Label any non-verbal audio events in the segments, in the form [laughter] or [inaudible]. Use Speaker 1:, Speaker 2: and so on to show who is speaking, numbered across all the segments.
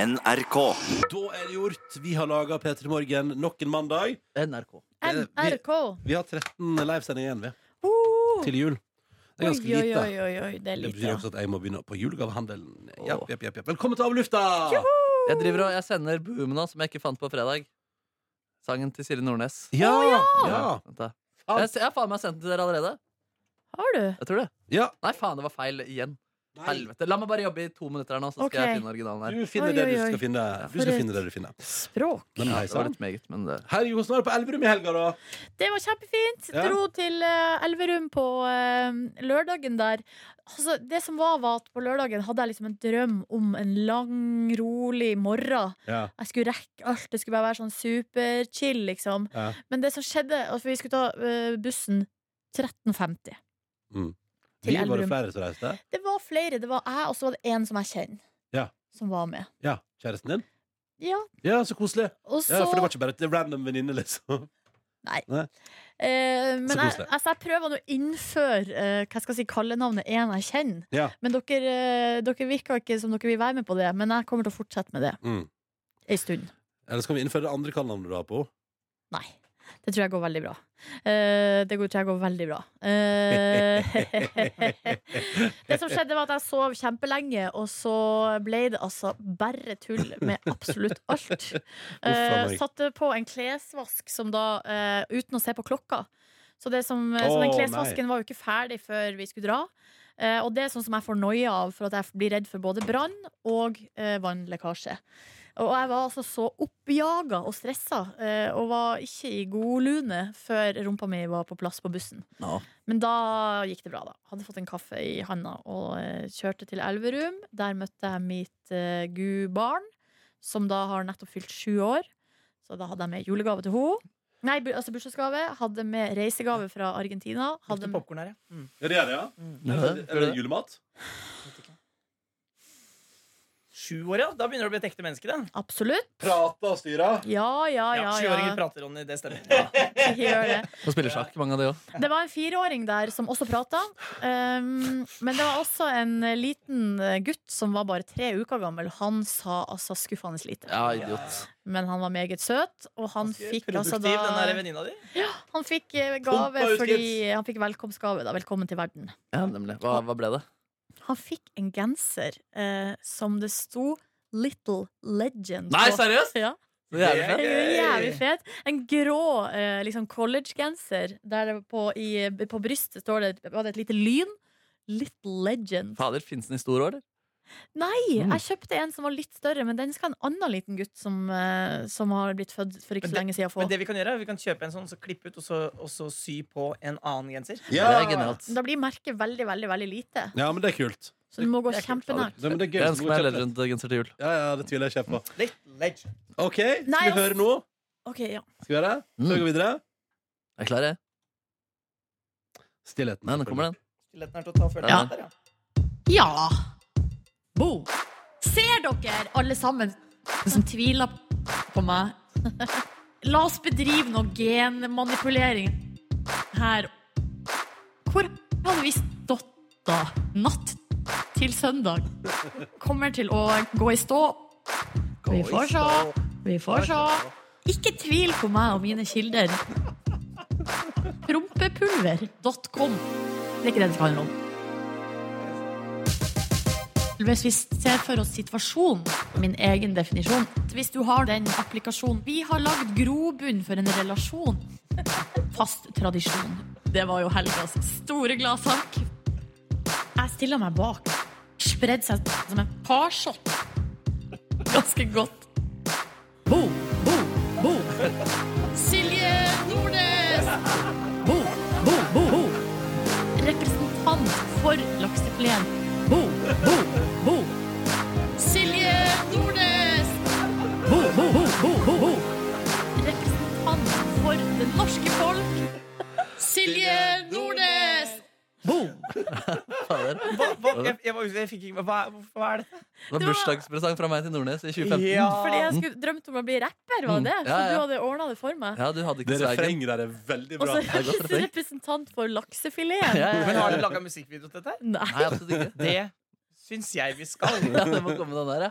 Speaker 1: NRK.
Speaker 2: Da er det gjort. Vi har laga P3 Morgen nok en mandag.
Speaker 3: NRK.
Speaker 2: Eh, vi-
Speaker 4: NRK.
Speaker 2: Vi har 13 livesendinger igjen, vi.
Speaker 4: Oh,
Speaker 2: Til jul. Det er ganske
Speaker 4: oi, oi,
Speaker 2: lite.
Speaker 4: oi, oi, oi, det er
Speaker 2: Det
Speaker 4: lite.
Speaker 2: betyr
Speaker 4: ja.
Speaker 2: også at jeg må begynne på julegavehandelen. Japp, japp, japp, japp. Velkommen til Avlufta!
Speaker 3: Jeg driver og jeg sender Boomna, som jeg ikke fant på fredag. Sangen til Siri Nordnes.
Speaker 2: Ja! Ja!
Speaker 3: Vent da. Jeg, jeg har faen meg sendt den til dere allerede.
Speaker 4: Har du?
Speaker 3: Jeg tror det.
Speaker 2: ja.
Speaker 3: Nei, faen, det var feil igjen.
Speaker 2: Nei,
Speaker 3: Helvete. La meg bare jobbe i to minutter her nå, så skal
Speaker 4: Ok.
Speaker 3: jeg finne originalen her.
Speaker 2: Du finner
Speaker 4: Oi,
Speaker 2: det
Speaker 4: oi,
Speaker 2: du skal
Speaker 4: oi.
Speaker 2: finne. Du
Speaker 4: For
Speaker 2: skal
Speaker 4: et-
Speaker 2: finne det du finner.
Speaker 4: Språk.
Speaker 2: Men
Speaker 3: Nei,
Speaker 2: nei,
Speaker 3: det var
Speaker 2: sant?
Speaker 3: litt meget, men det
Speaker 2: Herregud, hvordan var det på Elverum i helga, da?
Speaker 4: Det var kjempefint.
Speaker 2: Ja.
Speaker 4: Dro til eh, Elverum på eh, lørdagen der. Altså, det som var, var at på lørdagen hadde jeg liksom en drøm om en lang, rolig morgen.
Speaker 2: Ja.
Speaker 4: Jeg skulle rekke alt. Det skulle bare være sånn superchill, liksom.
Speaker 2: Ja.
Speaker 4: Men det som skjedde altså, Vi skulle ta eh, bussen 13.50. Til
Speaker 2: Mm. Vi var det
Speaker 4: Elverum.
Speaker 2: flere som reiste.
Speaker 4: Det var flere. Det var jeg, og så var det én som jeg kjenner,
Speaker 2: Ja.
Speaker 4: som var med.
Speaker 2: Ja, Kjæresten din?
Speaker 4: Ja,
Speaker 2: Ja, så koselig.
Speaker 4: og så
Speaker 2: Ja, For det var ikke bare et random venninne, liksom.
Speaker 4: Eh, men
Speaker 2: Så
Speaker 4: jeg,
Speaker 2: koselig.
Speaker 4: altså, jeg prøver nå å innføre eh, hva skal jeg si, kallenavnet en jeg kjenner.
Speaker 2: Ja.
Speaker 4: Men dere, eh, dere virker ikke som dere vil være med på det. Men jeg kommer til å fortsette med det
Speaker 2: Mm.
Speaker 4: ei stund.
Speaker 2: Eller så kan vi innføre det andre kallenavnet du har på henne.
Speaker 4: Nei. Det tror jeg går veldig bra. Eh, det går, tror jeg går veldig bra. Eh, [laughs] det som skjedde, var at jeg sov kjempelenge, og så ble det altså bare tull med absolutt
Speaker 2: [laughs]
Speaker 4: alt. Eh,
Speaker 2: meg.
Speaker 4: satte på en klesvask som da, eh, uten å se på klokka. Så, det som, eh, så den
Speaker 2: Å,
Speaker 4: klesvasken var jo ikke ferdig før vi skulle dra. Eh, og det er sånn som jeg får noia av, for at jeg blir redd for både brann og eh, vannlekkasje. Og jeg var altså så oppjaga og stressa, eh, og var ikke i god lune før rumpa mi var på plass på bussen.
Speaker 3: Ja.
Speaker 4: Men da gikk det bra, da. Hadde fått en kaffe i handa og eh, kjørte til Elverum. Der møtte jeg mitt eh, gudbarn, som da har nettopp fylt sju år. Så da hadde jeg med julegave til henne. Nei, bu- altså bursdagsgave. Hadde med reisegave fra Argentina. Hadde
Speaker 5: Lukter popcorn her, ja. Mm.
Speaker 2: Ja, det er det, ja. Er det, er det julemat?
Speaker 5: vet ikke. Sju år, ja. Da begynner du å bli et ekte menneske. da
Speaker 4: Absolutt.
Speaker 2: Prata og styra?
Speaker 4: Ja, ja, ja.
Speaker 5: Sjuåringer
Speaker 4: ja.
Speaker 5: prater, Ronny. Det stemmer. Ja.
Speaker 4: [laughs] Gjør det.
Speaker 3: Og spiller sjakk, mange av de òg.
Speaker 4: Det var en fireåring der som også prata. Um, men det var også en liten eh, gutt som var bare tre uker gammel. Han sa altså skuffende lite.
Speaker 3: Ja, idiot.
Speaker 4: Men han var meget søt, og han fikk altså da
Speaker 5: den der venninna di.
Speaker 4: Han fikk eh,
Speaker 2: Pumpa
Speaker 4: gave
Speaker 2: ut
Speaker 4: fordi Han fikk velkomstgave, da. Velkommen til verden.
Speaker 3: Ja, nemlig. Hva, hva ble det?
Speaker 4: Han fikk en genser eh, som det sto Little Legend
Speaker 3: Nei,
Speaker 4: på.
Speaker 3: seriøst?
Speaker 4: Ja.
Speaker 3: Så jævlig
Speaker 4: Det
Speaker 3: fett.
Speaker 4: er jo jævlig fet. En grå eh, liksom collegegenser der det på, i, på brystet står det, var det et lite lyn. Little Legend.
Speaker 3: Fader, fins den i store år, eller?
Speaker 4: Nei!
Speaker 3: Mm.
Speaker 4: Jeg kjøpte en som var litt større, men den skal en annen liten gutt som, eh, som har blitt født for ikke
Speaker 5: Men
Speaker 4: så lenge siden, få.
Speaker 5: Men det vi kan gjøre, er vi kan kjøpe en sånn, så klippe ut, og så, og så sy på en annen genser.
Speaker 3: Det er genialt.
Speaker 4: Da blir merket veldig, veldig veldig lite.
Speaker 2: Ja, men det er kult.
Speaker 4: Så du må gå
Speaker 5: Det er kult.
Speaker 4: kjempenært.
Speaker 2: Det, men det er gøy.
Speaker 3: Jeg
Speaker 2: så
Speaker 3: ønsker
Speaker 2: må
Speaker 3: meg
Speaker 2: vi kjøpe det.
Speaker 3: Legend-genser til jul.
Speaker 2: Ja, ja, det tviler jeg ikke på.
Speaker 5: Litt legend.
Speaker 2: OK, skal
Speaker 4: Nei,
Speaker 2: vi
Speaker 4: ass.
Speaker 2: høre nå?
Speaker 4: Ok, ja.
Speaker 2: Skal vi gjøre det?
Speaker 3: Mm.
Speaker 2: Skal vi gå videre?
Speaker 3: Jeg er klar, jeg.
Speaker 2: Stillheten.
Speaker 3: Nei, nå kommer den.
Speaker 5: Stillheten er til å ta og føle
Speaker 3: Ja.
Speaker 5: med der, ja.
Speaker 4: Ja. Bo. Ser dere, alle sammen som tviler på meg? [laughs] La oss bedrive noe genmanipulering her. Hvor hadde vi stått da? Natt til søndag. Kommer til å gå i stå. Vi får se. Vi får se. Ikke tvil på meg og mine kilder. Prompepulver.com. Det er ikke det det skal handle om. Hvis vi ser for oss situasjonen, min egen definisjon Hvis du har den applikasjonen Vi har lagd grobunn for en relasjon. Fast tradisjon. Det var jo helgas store gladsak. Jeg stiller meg bak. Spredde seg som en parshot. Ganske godt. Boom, boom, boom. Silje Nordnes! Boom, boom, boom, boom. Representant for laksefileten. Bo, bo, bo. Silje Nordnes. Bo, bo, bo, bo, bo, bo. Representant for det norske folk. Silje Nordnes.
Speaker 3: [laughs] Fader.
Speaker 5: Hva, hva, jeg, jeg, var usikker, jeg fikk ikke hva, hva er det?
Speaker 3: Det var bursdagspresang fra meg til Nordnes i 2015.
Speaker 5: Ja.
Speaker 4: Fordi jeg skulle drømte om å bli rapper, var det?
Speaker 3: Mm,
Speaker 4: Så
Speaker 3: ja,
Speaker 4: du
Speaker 3: ja.
Speaker 4: hadde ordna det for meg.
Speaker 3: Ja, du hadde
Speaker 2: Det
Speaker 3: ikke svegen.
Speaker 2: refrenget der er veldig
Speaker 4: Og
Speaker 2: bra.
Speaker 3: er godt
Speaker 4: så
Speaker 3: refreng.
Speaker 4: representant for
Speaker 3: Ja,
Speaker 4: laksefileten.
Speaker 3: ja,
Speaker 5: Men
Speaker 3: ja.
Speaker 5: har du laga musikkvideo til dette? her?
Speaker 4: Nei.
Speaker 3: Nei, absolutt ikke.
Speaker 2: [laughs]
Speaker 5: Det syns jeg vi skal.
Speaker 3: Ja, det må komme den der, ja.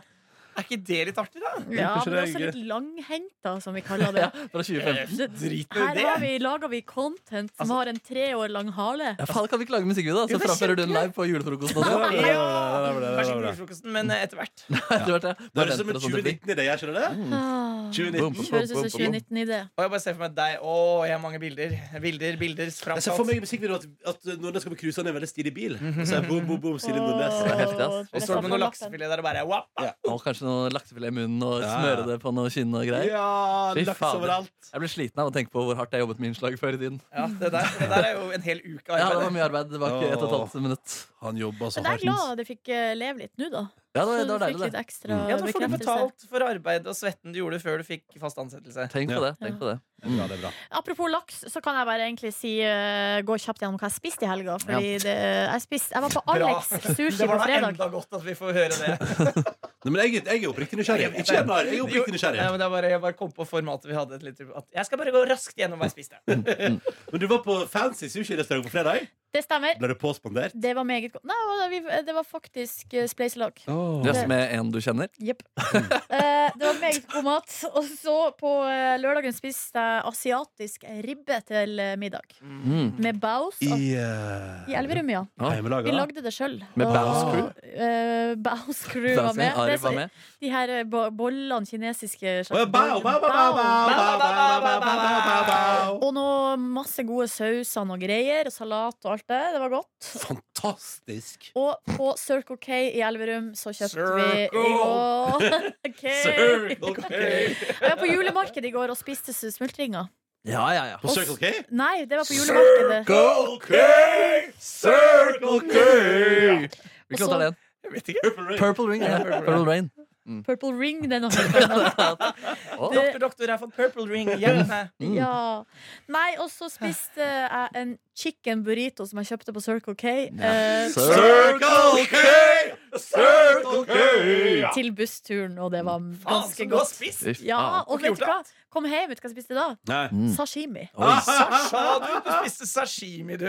Speaker 5: Er ikke det litt artig, da?
Speaker 4: Ja,
Speaker 2: Kanskje
Speaker 4: men
Speaker 2: det er
Speaker 4: også
Speaker 2: gøy.
Speaker 4: litt langhentet som vi kaller det.
Speaker 3: Ja, fra 2015.
Speaker 4: Det-
Speaker 5: Drit nå i
Speaker 4: Her
Speaker 5: det.
Speaker 4: har vi, lager vi content som har en tre år lang hale.
Speaker 3: Ja, faen, kan vi ikke lage musikkvideo, da?
Speaker 5: Jo,
Speaker 3: Så
Speaker 5: det er
Speaker 3: framfører du den live på julefrokosten. også.
Speaker 2: Ja, det er bra, det er bra, det er bra, det er bra.
Speaker 5: Kanskje ikke julefrokosten, men eh, etter hvert.
Speaker 3: [laughs] Etter hvert, ja.
Speaker 2: Det
Speaker 3: Bare
Speaker 2: høres ut som en
Speaker 3: venter og sånne ting.
Speaker 2: 2019 i det, gjør ikke det?
Speaker 3: Mm.
Speaker 4: Ah,
Speaker 2: 2019.
Speaker 4: Kjøres ut som 2019-idé.
Speaker 5: Og jeg bare ser for meg deg. Å, jeg har mange bilder. Bilder, bilder.
Speaker 2: Jeg ser for
Speaker 5: Framkalt.
Speaker 2: meg i musikkvideoen at, at Nordnes kommer cruisende i en veldig stilig bil.
Speaker 3: Mhm.
Speaker 2: Så jeg boom, boom, boom, Silje
Speaker 3: Det er
Speaker 2: Nordnes.
Speaker 3: heftig, ass.
Speaker 5: Og så står det med noe laksefilet der og bare wap, wap.
Speaker 3: Og kanskje noe laksefilet i munnen og
Speaker 2: Ja.
Speaker 3: smøre det på noe kinn og greier.
Speaker 2: Ja,
Speaker 3: Fy
Speaker 2: laks
Speaker 3: fader.
Speaker 2: overalt.
Speaker 3: Jeg blir sliten av å tenke på hvor hardt jeg jobbet med innslag før i tiden.
Speaker 5: Ja, det der, det der er jo en hel
Speaker 3: Ja,
Speaker 5: uke
Speaker 3: det
Speaker 5: arbeid.
Speaker 3: var mye arbeid. Det var ikke ett og et halvt minutt.
Speaker 2: Han jobba så
Speaker 4: Men
Speaker 2: hardt.
Speaker 4: jeg er glad det fikk eh, leve litt nå, da.
Speaker 3: Ja, det var,
Speaker 4: Så
Speaker 3: det var
Speaker 4: du fikk
Speaker 3: deilig,
Speaker 4: litt
Speaker 3: det.
Speaker 4: ekstra
Speaker 5: Ja, da får du
Speaker 4: bekreftelse.
Speaker 5: betalt for arbeidet og svetten du gjorde før du fikk fast ansettelse.
Speaker 3: Tenk på
Speaker 2: Ja.
Speaker 3: det. tenk på det
Speaker 2: Ja, det er bra.
Speaker 4: Apropos laks, så kan jeg bare egentlig si eh, gå kjapt gjennom hva jeg spiste i helga. Fordi det, jeg, spiste, jeg var på Alex
Speaker 5: [laughs] Det
Speaker 4: sushi på
Speaker 5: var da
Speaker 4: fredag.
Speaker 5: enda godt at vi får høre det.
Speaker 2: Nei, men jeg, jeg er oppriktig nysgjerrig. Ikke gjør narr, jeg er oppriktig nysgjerrig.
Speaker 5: Ja, men det er bare, jeg bare kom på formatet vi hadde. et litt- At jeg skal bare gå raskt gjennom hva jeg spiste.
Speaker 2: Men du var på fancy sushirestaurant på fredag.
Speaker 4: Det stemmer.
Speaker 2: Ble det påspandert?
Speaker 4: Det var meget godt. Nei, vi- det var faktisk eh, spleiselag.
Speaker 3: Dress med en du kjenner. [laughs]
Speaker 4: Jepp. Eh, det var meget god mat. Og så på eh, lørdagen spiste jeg asiatisk ribbe til eh, middag.
Speaker 3: Mm.
Speaker 4: Med baos.
Speaker 2: I,
Speaker 4: I
Speaker 2: uh,
Speaker 4: Elverum, ja. Vi
Speaker 2: Hjemmelaga?
Speaker 4: lagde det sjøl.
Speaker 3: Med Baos crew?
Speaker 4: Baos crew var
Speaker 3: Dansing,
Speaker 4: med.
Speaker 3: Ari
Speaker 4: Det er
Speaker 3: var
Speaker 4: så-
Speaker 3: med.
Speaker 4: De her eh, bo- bollene kinesiske
Speaker 2: Å, ja, bao, bao, bao, bao, bao, bao, bao, bao, bao, bao, bao.
Speaker 4: Og noe masse gode sauser og greier. og Salat og alt det. Det var godt.
Speaker 2: Fantastisk.
Speaker 4: Og på Circle K i Elverum så kjøpte vi i går [laughs]
Speaker 2: Circle.
Speaker 4: okay.
Speaker 2: Circle K.
Speaker 4: Jeg var på julemarkedet i går og spiste smultringer.
Speaker 3: Ja, ja, ja.
Speaker 2: På Circle K?
Speaker 4: Nei, det var på julemarkedet.
Speaker 2: Circle K! Circle K!
Speaker 3: Hvilken låt er det igjen?
Speaker 5: Jeg vet ikke.
Speaker 2: Purple Rain.
Speaker 3: Purple Ring. Ja. Purple Rain.
Speaker 4: Purple Ring, den har
Speaker 2: [laughs]
Speaker 3: Å,
Speaker 4: Det-
Speaker 5: Doktor, doktor, jeg har fått purple ring. Hjelp meg.
Speaker 3: Mm.
Speaker 4: Ja. Nei, og så spiste jeg en chicken burrito som jeg kjøpte på Circle K. eh,
Speaker 2: Circle K! Circle K!
Speaker 4: til bussturen, og det var
Speaker 5: Faen, så
Speaker 4: ganske
Speaker 5: godt
Speaker 4: godt.
Speaker 5: spist.
Speaker 3: Fy
Speaker 4: Ja,
Speaker 3: faen.
Speaker 4: og
Speaker 5: Hvorfor
Speaker 4: vet du hva?
Speaker 5: gjorde
Speaker 4: Kom hjem, vet du hva jeg spiste da?
Speaker 2: Nei.
Speaker 3: Mm.
Speaker 4: Sashimi.
Speaker 2: [laughs]
Speaker 3: Oi.
Speaker 5: Sasha, du, du spiste sashimi, du.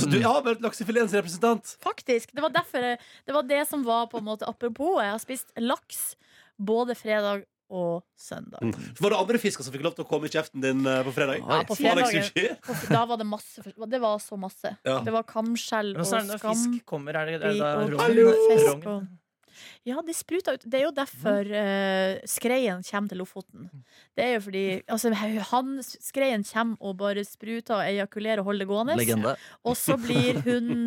Speaker 2: Så du har vært laksefiletens representant?
Speaker 4: Faktisk. Det var derfor jeg- Det var det som var på en måte apropos. Jeg har spist laks både fredag og søndag.
Speaker 5: Mm.
Speaker 2: Var det andre fisker som fikk lov til å komme i kjeften din eh, på fredag?
Speaker 3: Oi.
Speaker 4: på
Speaker 2: Alex
Speaker 4: fredagen.
Speaker 2: Sushi?
Speaker 4: Og Da var det masse for- Det var så masse.
Speaker 2: Ja.
Speaker 4: Det var kamskjell og
Speaker 5: Nå er det når
Speaker 4: skam.
Speaker 5: fisk kommer. Er det, er det da
Speaker 4: og
Speaker 5: rogn?
Speaker 4: fisk og- Ja, de spruta ut. Det er jo derfor
Speaker 3: Mm.
Speaker 4: eh, skreien kommer til Lofoten. Det er jo fordi altså, han, skreien kommer og bare spruter og ejakulerer og holder det gående.
Speaker 3: Legende.
Speaker 4: Og så blir
Speaker 3: [laughs]
Speaker 4: hun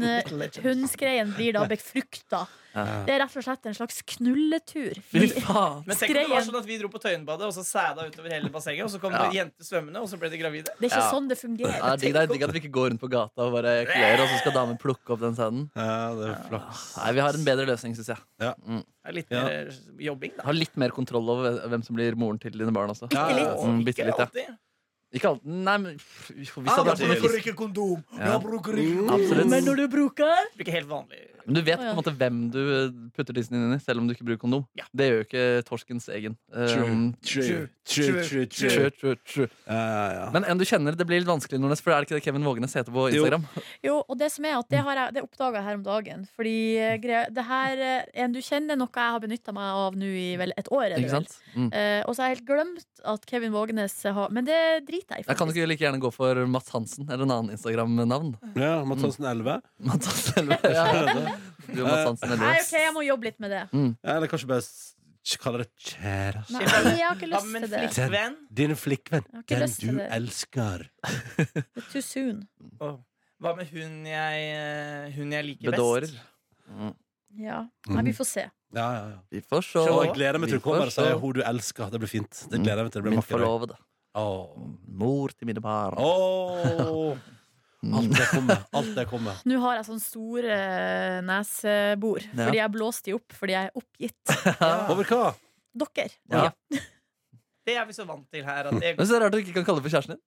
Speaker 4: Hundskreien blir da befrukta.
Speaker 3: Ja.
Speaker 4: Det er rett og slett en slags knulletur.
Speaker 3: Fy faen.
Speaker 5: Men tenk om det var
Speaker 4: Skreien.
Speaker 5: sånn at vi dro på Tøyenbadet og så sæda utover hele bassenget, og så kom det jenter svømmende, og så ble de gravide.
Speaker 4: Det er ikke
Speaker 3: Ja.
Speaker 4: sånn det fungerer.
Speaker 3: Ja, digg, det er digg at vi ikke går rundt på gata og bare ejakulerer, og så skal damer plukke opp den sæden.
Speaker 2: Ja, det er flaks.
Speaker 3: Nei, vi har en bedre løsning, syns jeg.
Speaker 5: Det er litt
Speaker 2: Ja.
Speaker 5: mer eh, jobbing, da.
Speaker 3: Har litt mer kontroll over hvem som blir moren til dine barn også.
Speaker 2: Bitte litt.
Speaker 3: Mm, bitte litt, ja.
Speaker 5: alltid.
Speaker 3: Ikke alt. Nei, men pff, jo, hvis det hadde vært
Speaker 2: men
Speaker 3: helt-
Speaker 5: ikke kondom.
Speaker 3: Ja.
Speaker 5: bruker ikke
Speaker 3: Absolutt.
Speaker 4: Mm. Men når du bruker
Speaker 5: Bruker helt vanlig.
Speaker 3: Men du vet
Speaker 4: Å,
Speaker 3: på
Speaker 4: ja.
Speaker 3: en måte hvem du eh, putter tissen din i, selv om du ikke bruker kondom.
Speaker 5: Ja.
Speaker 3: Det gjør jo ikke torskens egen. Um,
Speaker 2: True, true, true,
Speaker 3: true,
Speaker 2: true.
Speaker 3: true, true.
Speaker 2: Ja, ja.
Speaker 3: Men en du kjenner, det blir litt vanskelig, Nordnes, for er det ikke det Kevin Vågenes heter på
Speaker 2: Jo.
Speaker 3: Instagram?
Speaker 4: Jo, og det som er
Speaker 3: Mm.
Speaker 4: at det, har jeg- det oppdaga jeg her om dagen. Fordi eh, gre- det her eh, en du kjenner, er noe jeg har benytta meg av nå i vel et år. Er det
Speaker 3: Ikke
Speaker 4: vel?
Speaker 3: sant? Mm.
Speaker 4: Eh, og så har jeg helt glemt at Kevin Vågenes har Men det driter jeg i.
Speaker 3: Jeg kan
Speaker 4: faktisk.
Speaker 3: ikke like gjerne gå for Matt Hansen eller en annen Instagram-navn.
Speaker 2: Ja, Mathiassen 11.
Speaker 3: Matt
Speaker 4: [laughs]
Speaker 3: Hansen eller ja. Du og Matt Hansen
Speaker 4: Nei,
Speaker 3: eller
Speaker 4: ok, jeg må jobbe litt med det.
Speaker 2: Eller kanskje bare s- kalle det kjæreste.
Speaker 4: Nei, jeg har ikke
Speaker 5: Ja,
Speaker 4: lyst
Speaker 5: men
Speaker 4: til det.
Speaker 5: flikkvenn
Speaker 2: Din flikkvenn.
Speaker 4: har ikke
Speaker 2: Den
Speaker 4: lyst til
Speaker 2: du
Speaker 4: det.
Speaker 2: elsker.
Speaker 4: Too soon.
Speaker 5: Hva med hun jeg, eh, hun jeg liker
Speaker 3: Bedårer.
Speaker 5: best?
Speaker 4: Ja. Nei,
Speaker 3: Mm.
Speaker 4: vi får se.
Speaker 2: Ja, ja, ja.
Speaker 3: Vi får se.
Speaker 2: Og jeg gleder meg til
Speaker 3: Vi
Speaker 2: hun kommer
Speaker 3: får
Speaker 2: og sier
Speaker 3: se.
Speaker 2: 'hun du elsker'. Det blir fint. Det gleder jeg meg til. Det blir
Speaker 3: Min
Speaker 2: vakker dag.
Speaker 3: forlovede.
Speaker 2: Åh.
Speaker 3: Mor til mine barn.
Speaker 2: Åh. Alt det kommer. Alt det kommer.
Speaker 4: Nå har jeg sånn store eh, nesebor,
Speaker 3: Ja.
Speaker 4: fordi jeg blåste de opp fordi jeg er oppgitt.
Speaker 3: [laughs]
Speaker 5: Ja.
Speaker 2: Over hva?
Speaker 4: Dere.
Speaker 3: Ja.
Speaker 5: Det er vi så vant til her. At det,
Speaker 3: Men så er det rart du ikke kan kalle det for kjæresten din.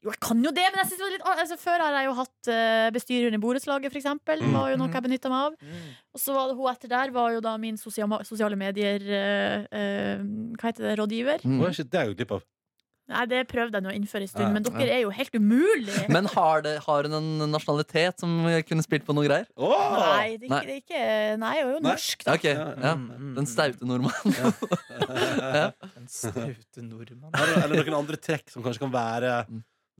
Speaker 4: Jo, jeg kan jo det, men jeg synes det var litt altså, Før har jeg jo hatt eh, bestyrer i borettslaget, for eksempel. Det var jo noe jeg benytta meg av.
Speaker 5: Mm.
Speaker 4: Og så var det hun etter der var jo da min sosiale, sosiale medier eh, eh, Hva heter det? Rådgiver.
Speaker 2: Åh, shit, det har jeg gått glipp av.
Speaker 4: Nei, det prøvde jeg nå å innføre en stund,
Speaker 3: Ja,
Speaker 4: men dere er jo helt umulige!
Speaker 3: Men har, det, har hun en nasjonalitet som kunne spilt på noe greier?
Speaker 2: Åh!
Speaker 4: Nei, det er
Speaker 3: Nei.
Speaker 4: ikke, det er ikke Nei, jeg er jo
Speaker 2: Nei.
Speaker 4: norsk, da.
Speaker 3: Ok, [laughs] ja. Den staute
Speaker 4: [laughs]
Speaker 3: nordmannen.
Speaker 5: Mm, Den staute nordmann.
Speaker 2: Her er- Eller noen andre trekk som kanskje kan være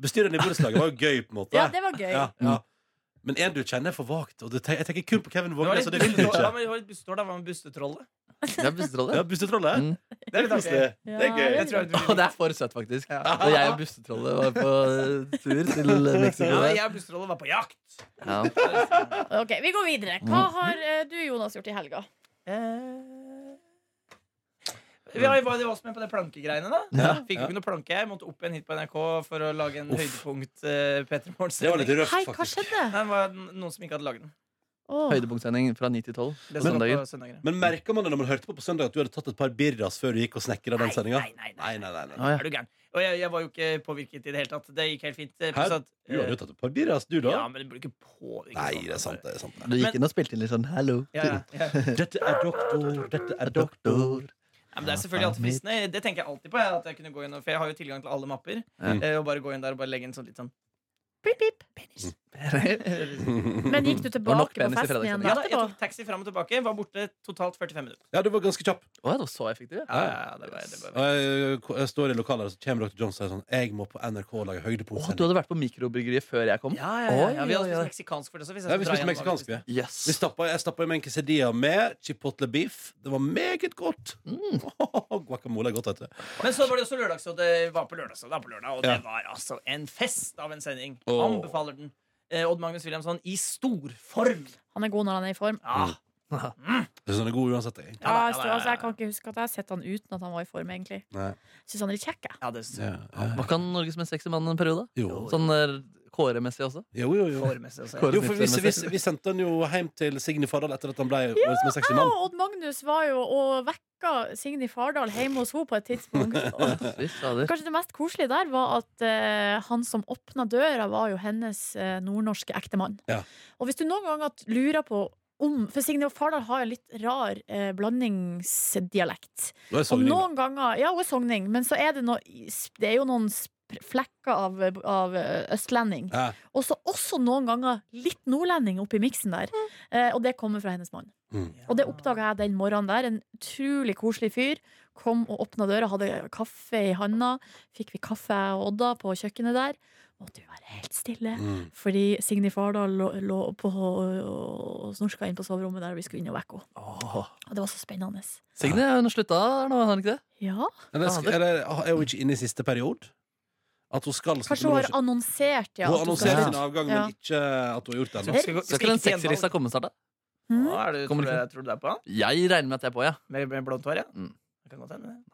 Speaker 2: Bestyreren i borettslaget var jo gøy, på en måte.
Speaker 4: Ja, det var gøy.
Speaker 2: Ja, ja. Men en du kjenner er for vagt. Og det te jeg tenker kun på Kevin
Speaker 5: Det var
Speaker 2: Vågnes,
Speaker 5: litt
Speaker 2: og det vil du
Speaker 5: busstål, ja,
Speaker 2: ikke.
Speaker 5: men det var litt busstål, da. Hva med bustetrollet?
Speaker 3: Ja, bustetrollet.
Speaker 2: Ja, Bustetrollet?
Speaker 3: Mm.
Speaker 5: Det er litt artig.
Speaker 2: Koselig. Det er gøy.
Speaker 4: Ja,
Speaker 5: Jeg tror jeg
Speaker 3: Og det er for søtt, faktisk. Da jeg og bustetrollet var på eh, tur til Mexico
Speaker 5: Ja,
Speaker 3: der.
Speaker 5: jeg og busstrollet var på jakt.
Speaker 3: Ja.
Speaker 4: Ok, Vi går videre. Hva har eh, du, Jonas, gjort i helga?
Speaker 5: Eh, Vi har jo bare det var med på det plankegreiene, da.
Speaker 3: Ja.
Speaker 5: Fikk jo ikke noe planke. Jeg måtte opp igjen hit på NRK for å lage en
Speaker 2: Uff.
Speaker 5: høydepunkt uh, Petter
Speaker 2: Det var litt
Speaker 5: Morgen-sending.
Speaker 2: røft,
Speaker 4: Hei, hva
Speaker 2: faktisk.
Speaker 4: skjedde?
Speaker 5: Det var noen som ikke hadde lagd den.
Speaker 4: Åh.
Speaker 3: Høydepunktsending fra 9 til 12
Speaker 5: Det
Speaker 3: på
Speaker 5: står
Speaker 3: søndager.
Speaker 5: på søndager.
Speaker 2: Men merka man det når man hørte på på søndag at du hadde tatt et par birras før du gikk og snekra den sendinga?
Speaker 5: Nei, nei, nei.
Speaker 2: Nei, nei, nei. nei.
Speaker 3: Å, ja.
Speaker 5: Er du gæren? Og jeg, jeg var jo ikke påvirket i det hele tatt. Det gikk helt fint. eh,
Speaker 2: Hæ?
Speaker 5: pluss at,
Speaker 2: Du hadde
Speaker 5: eh,
Speaker 2: jo tatt et par birras, du,
Speaker 5: Ja,
Speaker 2: da?
Speaker 5: men det blir ikke påvirket.
Speaker 2: Nei,
Speaker 5: sånn.
Speaker 2: det er sant, det er sant. det.
Speaker 3: Du gikk inn og spilte inn litt sånn
Speaker 4: [laughs]
Speaker 3: 'hallo'.
Speaker 5: Ja, ja, ja.
Speaker 2: Dette er doktor, dette er doktor.
Speaker 5: Ja, men det er selvfølgelig alltid fristende. Det tenker jeg alltid på. Jeg, at jeg kunne gå inn og, For jeg har jo tilgang til alle mapper.
Speaker 3: Ja.
Speaker 5: eh, Og bare gå inn der og bare legge en sånn litt sånn
Speaker 4: Pip, pip. Penis. Men gikk du
Speaker 3: var nok
Speaker 4: tilbake på
Speaker 3: penis i
Speaker 4: festen igjen
Speaker 5: Ja da, jeg
Speaker 4: etterpå?
Speaker 5: tok taxi fram og tilbake. Var borte totalt 45 minutter.
Speaker 2: [laughs] Ja, du var ganske kjapp.
Speaker 3: Å, det var så effektivt.
Speaker 5: Ja, ja, ja, det var, det var.
Speaker 2: Og jeg, jeg står i lokalet, og så kommer dr. Jones og sier sånn Jeg må på NRK lage
Speaker 3: Å, du
Speaker 2: høydepunktsending.
Speaker 3: hadde vært på mikrobryggeriet før jeg kom?
Speaker 5: Ja, ja, ja, ja, vi
Speaker 3: Oi, oi,
Speaker 5: hadde
Speaker 3: oi.
Speaker 5: spist meksikansk for det. Så hvis jeg
Speaker 2: Ja,
Speaker 5: skal
Speaker 2: vi
Speaker 5: dra
Speaker 2: spiste
Speaker 5: hjem,
Speaker 2: meksikansk,
Speaker 5: da,
Speaker 2: vi.
Speaker 3: Yes.
Speaker 2: Vi stappa, jeg stappa i meg en quesadilla med chipotle beef. Det var meget godt.
Speaker 3: Mm.
Speaker 2: [laughs] Guacamole er godt, vet du.
Speaker 5: Men så var det også lørdags, og det var på lørdag, så det var på lørdag og
Speaker 2: Ja.
Speaker 5: det var altså en fest av en sending.
Speaker 2: Åh.
Speaker 5: Anbefaler den. Eh, Odd Magnus Williamson i storform.
Speaker 4: Han er god når han er i form.
Speaker 5: Ja.
Speaker 2: Mm. Jeg synes den er god uansett. Jeg.
Speaker 4: Ja, jeg,
Speaker 5: da, ja,
Speaker 4: står-
Speaker 5: da, ja,
Speaker 4: altså, jeg
Speaker 5: ja.
Speaker 4: kan ikke huske at jeg har sett han uten at han var i form, egentlig.
Speaker 2: Nei.
Speaker 4: Syns han er litt kjekk, jeg.
Speaker 5: Ja, det synes jeg.
Speaker 2: Ja, ja.
Speaker 3: Var ikke han Norges mest sexy mann en periode?
Speaker 2: Jo.
Speaker 3: Sånn eh, kåremessig også?
Speaker 2: Jo, jo, jo.
Speaker 5: Formessig å se.
Speaker 3: Kåre
Speaker 2: Jo, for vi,
Speaker 3: Knutsen-messig.
Speaker 2: vi, vi sendte han jo hjem til Signe Fardal etter at han ble årets mest sexy mann.
Speaker 4: Og Odd Magnus var jo og vekka Signy Fardal hjemme hos henne på et tidspunkt. Og
Speaker 3: Fy fader.
Speaker 4: kanskje det mest koselige der var at eh, han som åpna døra, var jo hennes eh, nordnorske ektemann.
Speaker 2: Ja.
Speaker 4: Og hvis du noen ganger lurer på om For Signy Fardal har en litt rar eh, blandingsdialekt.
Speaker 2: Nå er jeg
Speaker 4: Og
Speaker 2: sogning, da.
Speaker 4: noen ganger Ja, hun er sogning, men så er det, noe, det er jo noen sp- flekker av, av eh, østlending.
Speaker 2: Ja.
Speaker 4: Og så også noen ganger litt nordlending oppi miksen der. Eh, og det kommer fra hennes mann.
Speaker 2: Mm.
Speaker 4: Og det oppdaga jeg den morgenen der. En utrolig koselig fyr. Kom og åpna døra, hadde kaffe i handa. Fikk vi kaffe, jeg og Odda, på kjøkkenet der. Måtte jo være helt stille.
Speaker 2: Mm.
Speaker 4: Fordi Signy Fardal lå, lå på og snorska inn på soverommet der, og vi skulle inn og vekke henne.
Speaker 3: Åh.
Speaker 4: Og det var så spennende.
Speaker 3: Signe, hun slutta nå, har hun ikke det?
Speaker 4: Ja.
Speaker 2: Ah, Men det skal- Er det- er hun ikke inne i siste periode? At hun skal
Speaker 4: Kanskje hun har annonsert, ja.
Speaker 2: Altså, Hun
Speaker 4: at
Speaker 2: har
Speaker 4: hun
Speaker 2: annonsert
Speaker 4: skal-
Speaker 2: sin avgang,
Speaker 4: Ja.
Speaker 2: men ikke at hun har gjort det ennå.
Speaker 5: Skal- skal-
Speaker 3: Skal
Speaker 5: skal
Speaker 3: ikke den
Speaker 5: ikke gjenvalg.
Speaker 3: sexylista komme snart, da?
Speaker 4: Mm.
Speaker 5: Å, er det,
Speaker 3: Kommer
Speaker 5: tror, du,
Speaker 3: ikke.
Speaker 5: tror du det er på han?
Speaker 3: Jeg regner med at jeg er på, ja.
Speaker 5: Med, med blondt hår, ja?
Speaker 3: Mm.
Speaker 5: Det kan godt hende. det.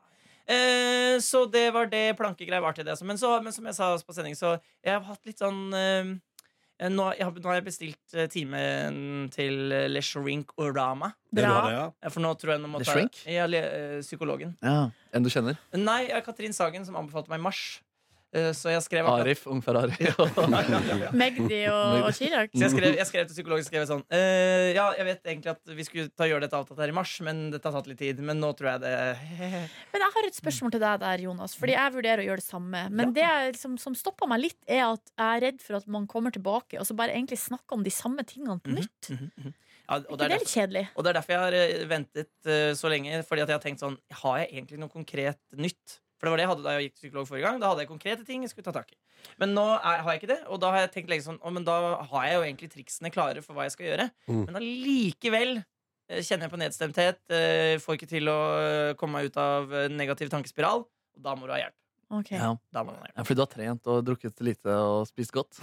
Speaker 5: Eh, så det var det plankegreier var til det. altså. Men, så, men som jeg sa på sending, så jeg har hatt litt sånn eh, nå, jeg har, nå har jeg bestilt eh, timen til eh, Le Shrink Orama.
Speaker 2: Det du
Speaker 4: Bra.
Speaker 2: har, ja.
Speaker 5: For nå tror jeg nå må
Speaker 3: Le
Speaker 5: ta
Speaker 3: Shrink?
Speaker 5: Ja, le, eh, psykologen.
Speaker 3: En du kjenner?
Speaker 5: Nei, jeg har Katrin Sagen som anbefalte meg Mars. Eh, så jeg skrev akkurat-
Speaker 3: Arif, ungfar Arif.
Speaker 4: Magdi
Speaker 2: [laughs]
Speaker 4: og, og Chirag.
Speaker 5: Så jeg skrev, jeg skrev til psykologen skrev jeg sånn «Eh, Ja, jeg vet egentlig at vi skulle ta, gjøre dette avtalt her i mars, men dette har tatt litt tid. Men nå tror jeg det [laughs]
Speaker 4: Men jeg har et spørsmål til deg der, Jonas. Fordi jeg vurderer å gjøre det samme. Men det jeg liksom, som stopper meg litt, er at jeg er redd for at man kommer tilbake og så bare egentlig snakker om de samme tingene på nytt.
Speaker 5: ja, og,
Speaker 4: Er ikke det
Speaker 5: det er derfor,
Speaker 4: litt kjedelig?
Speaker 5: og det er derfor jeg har eh, ventet eh, så lenge. Fordi at jeg har tenkt sånn Har jeg egentlig noe konkret nytt? For det var det jeg hadde da jeg gikk til psykolog forrige gang. Da hadde jeg konkrete ting jeg skulle ta tak i. Men nå er, har jeg ikke det, og da har jeg tenkt lenge sånn Å, men da har jeg jo egentlig triksene klare for hva jeg skal gjøre.
Speaker 2: Mm.
Speaker 5: Men allikevel eh, kjenner jeg på nedstemthet. eh, får ikke til å eh, komme meg ut av eh, negativ tankespiral. Og da må du ha hjelp.
Speaker 4: Ok.
Speaker 3: Ja.
Speaker 5: Da må du ha
Speaker 2: [laughs]
Speaker 3: [laughs]
Speaker 5: hjelp.
Speaker 3: Ja, fordi du har trent og drukket lite og spist godt.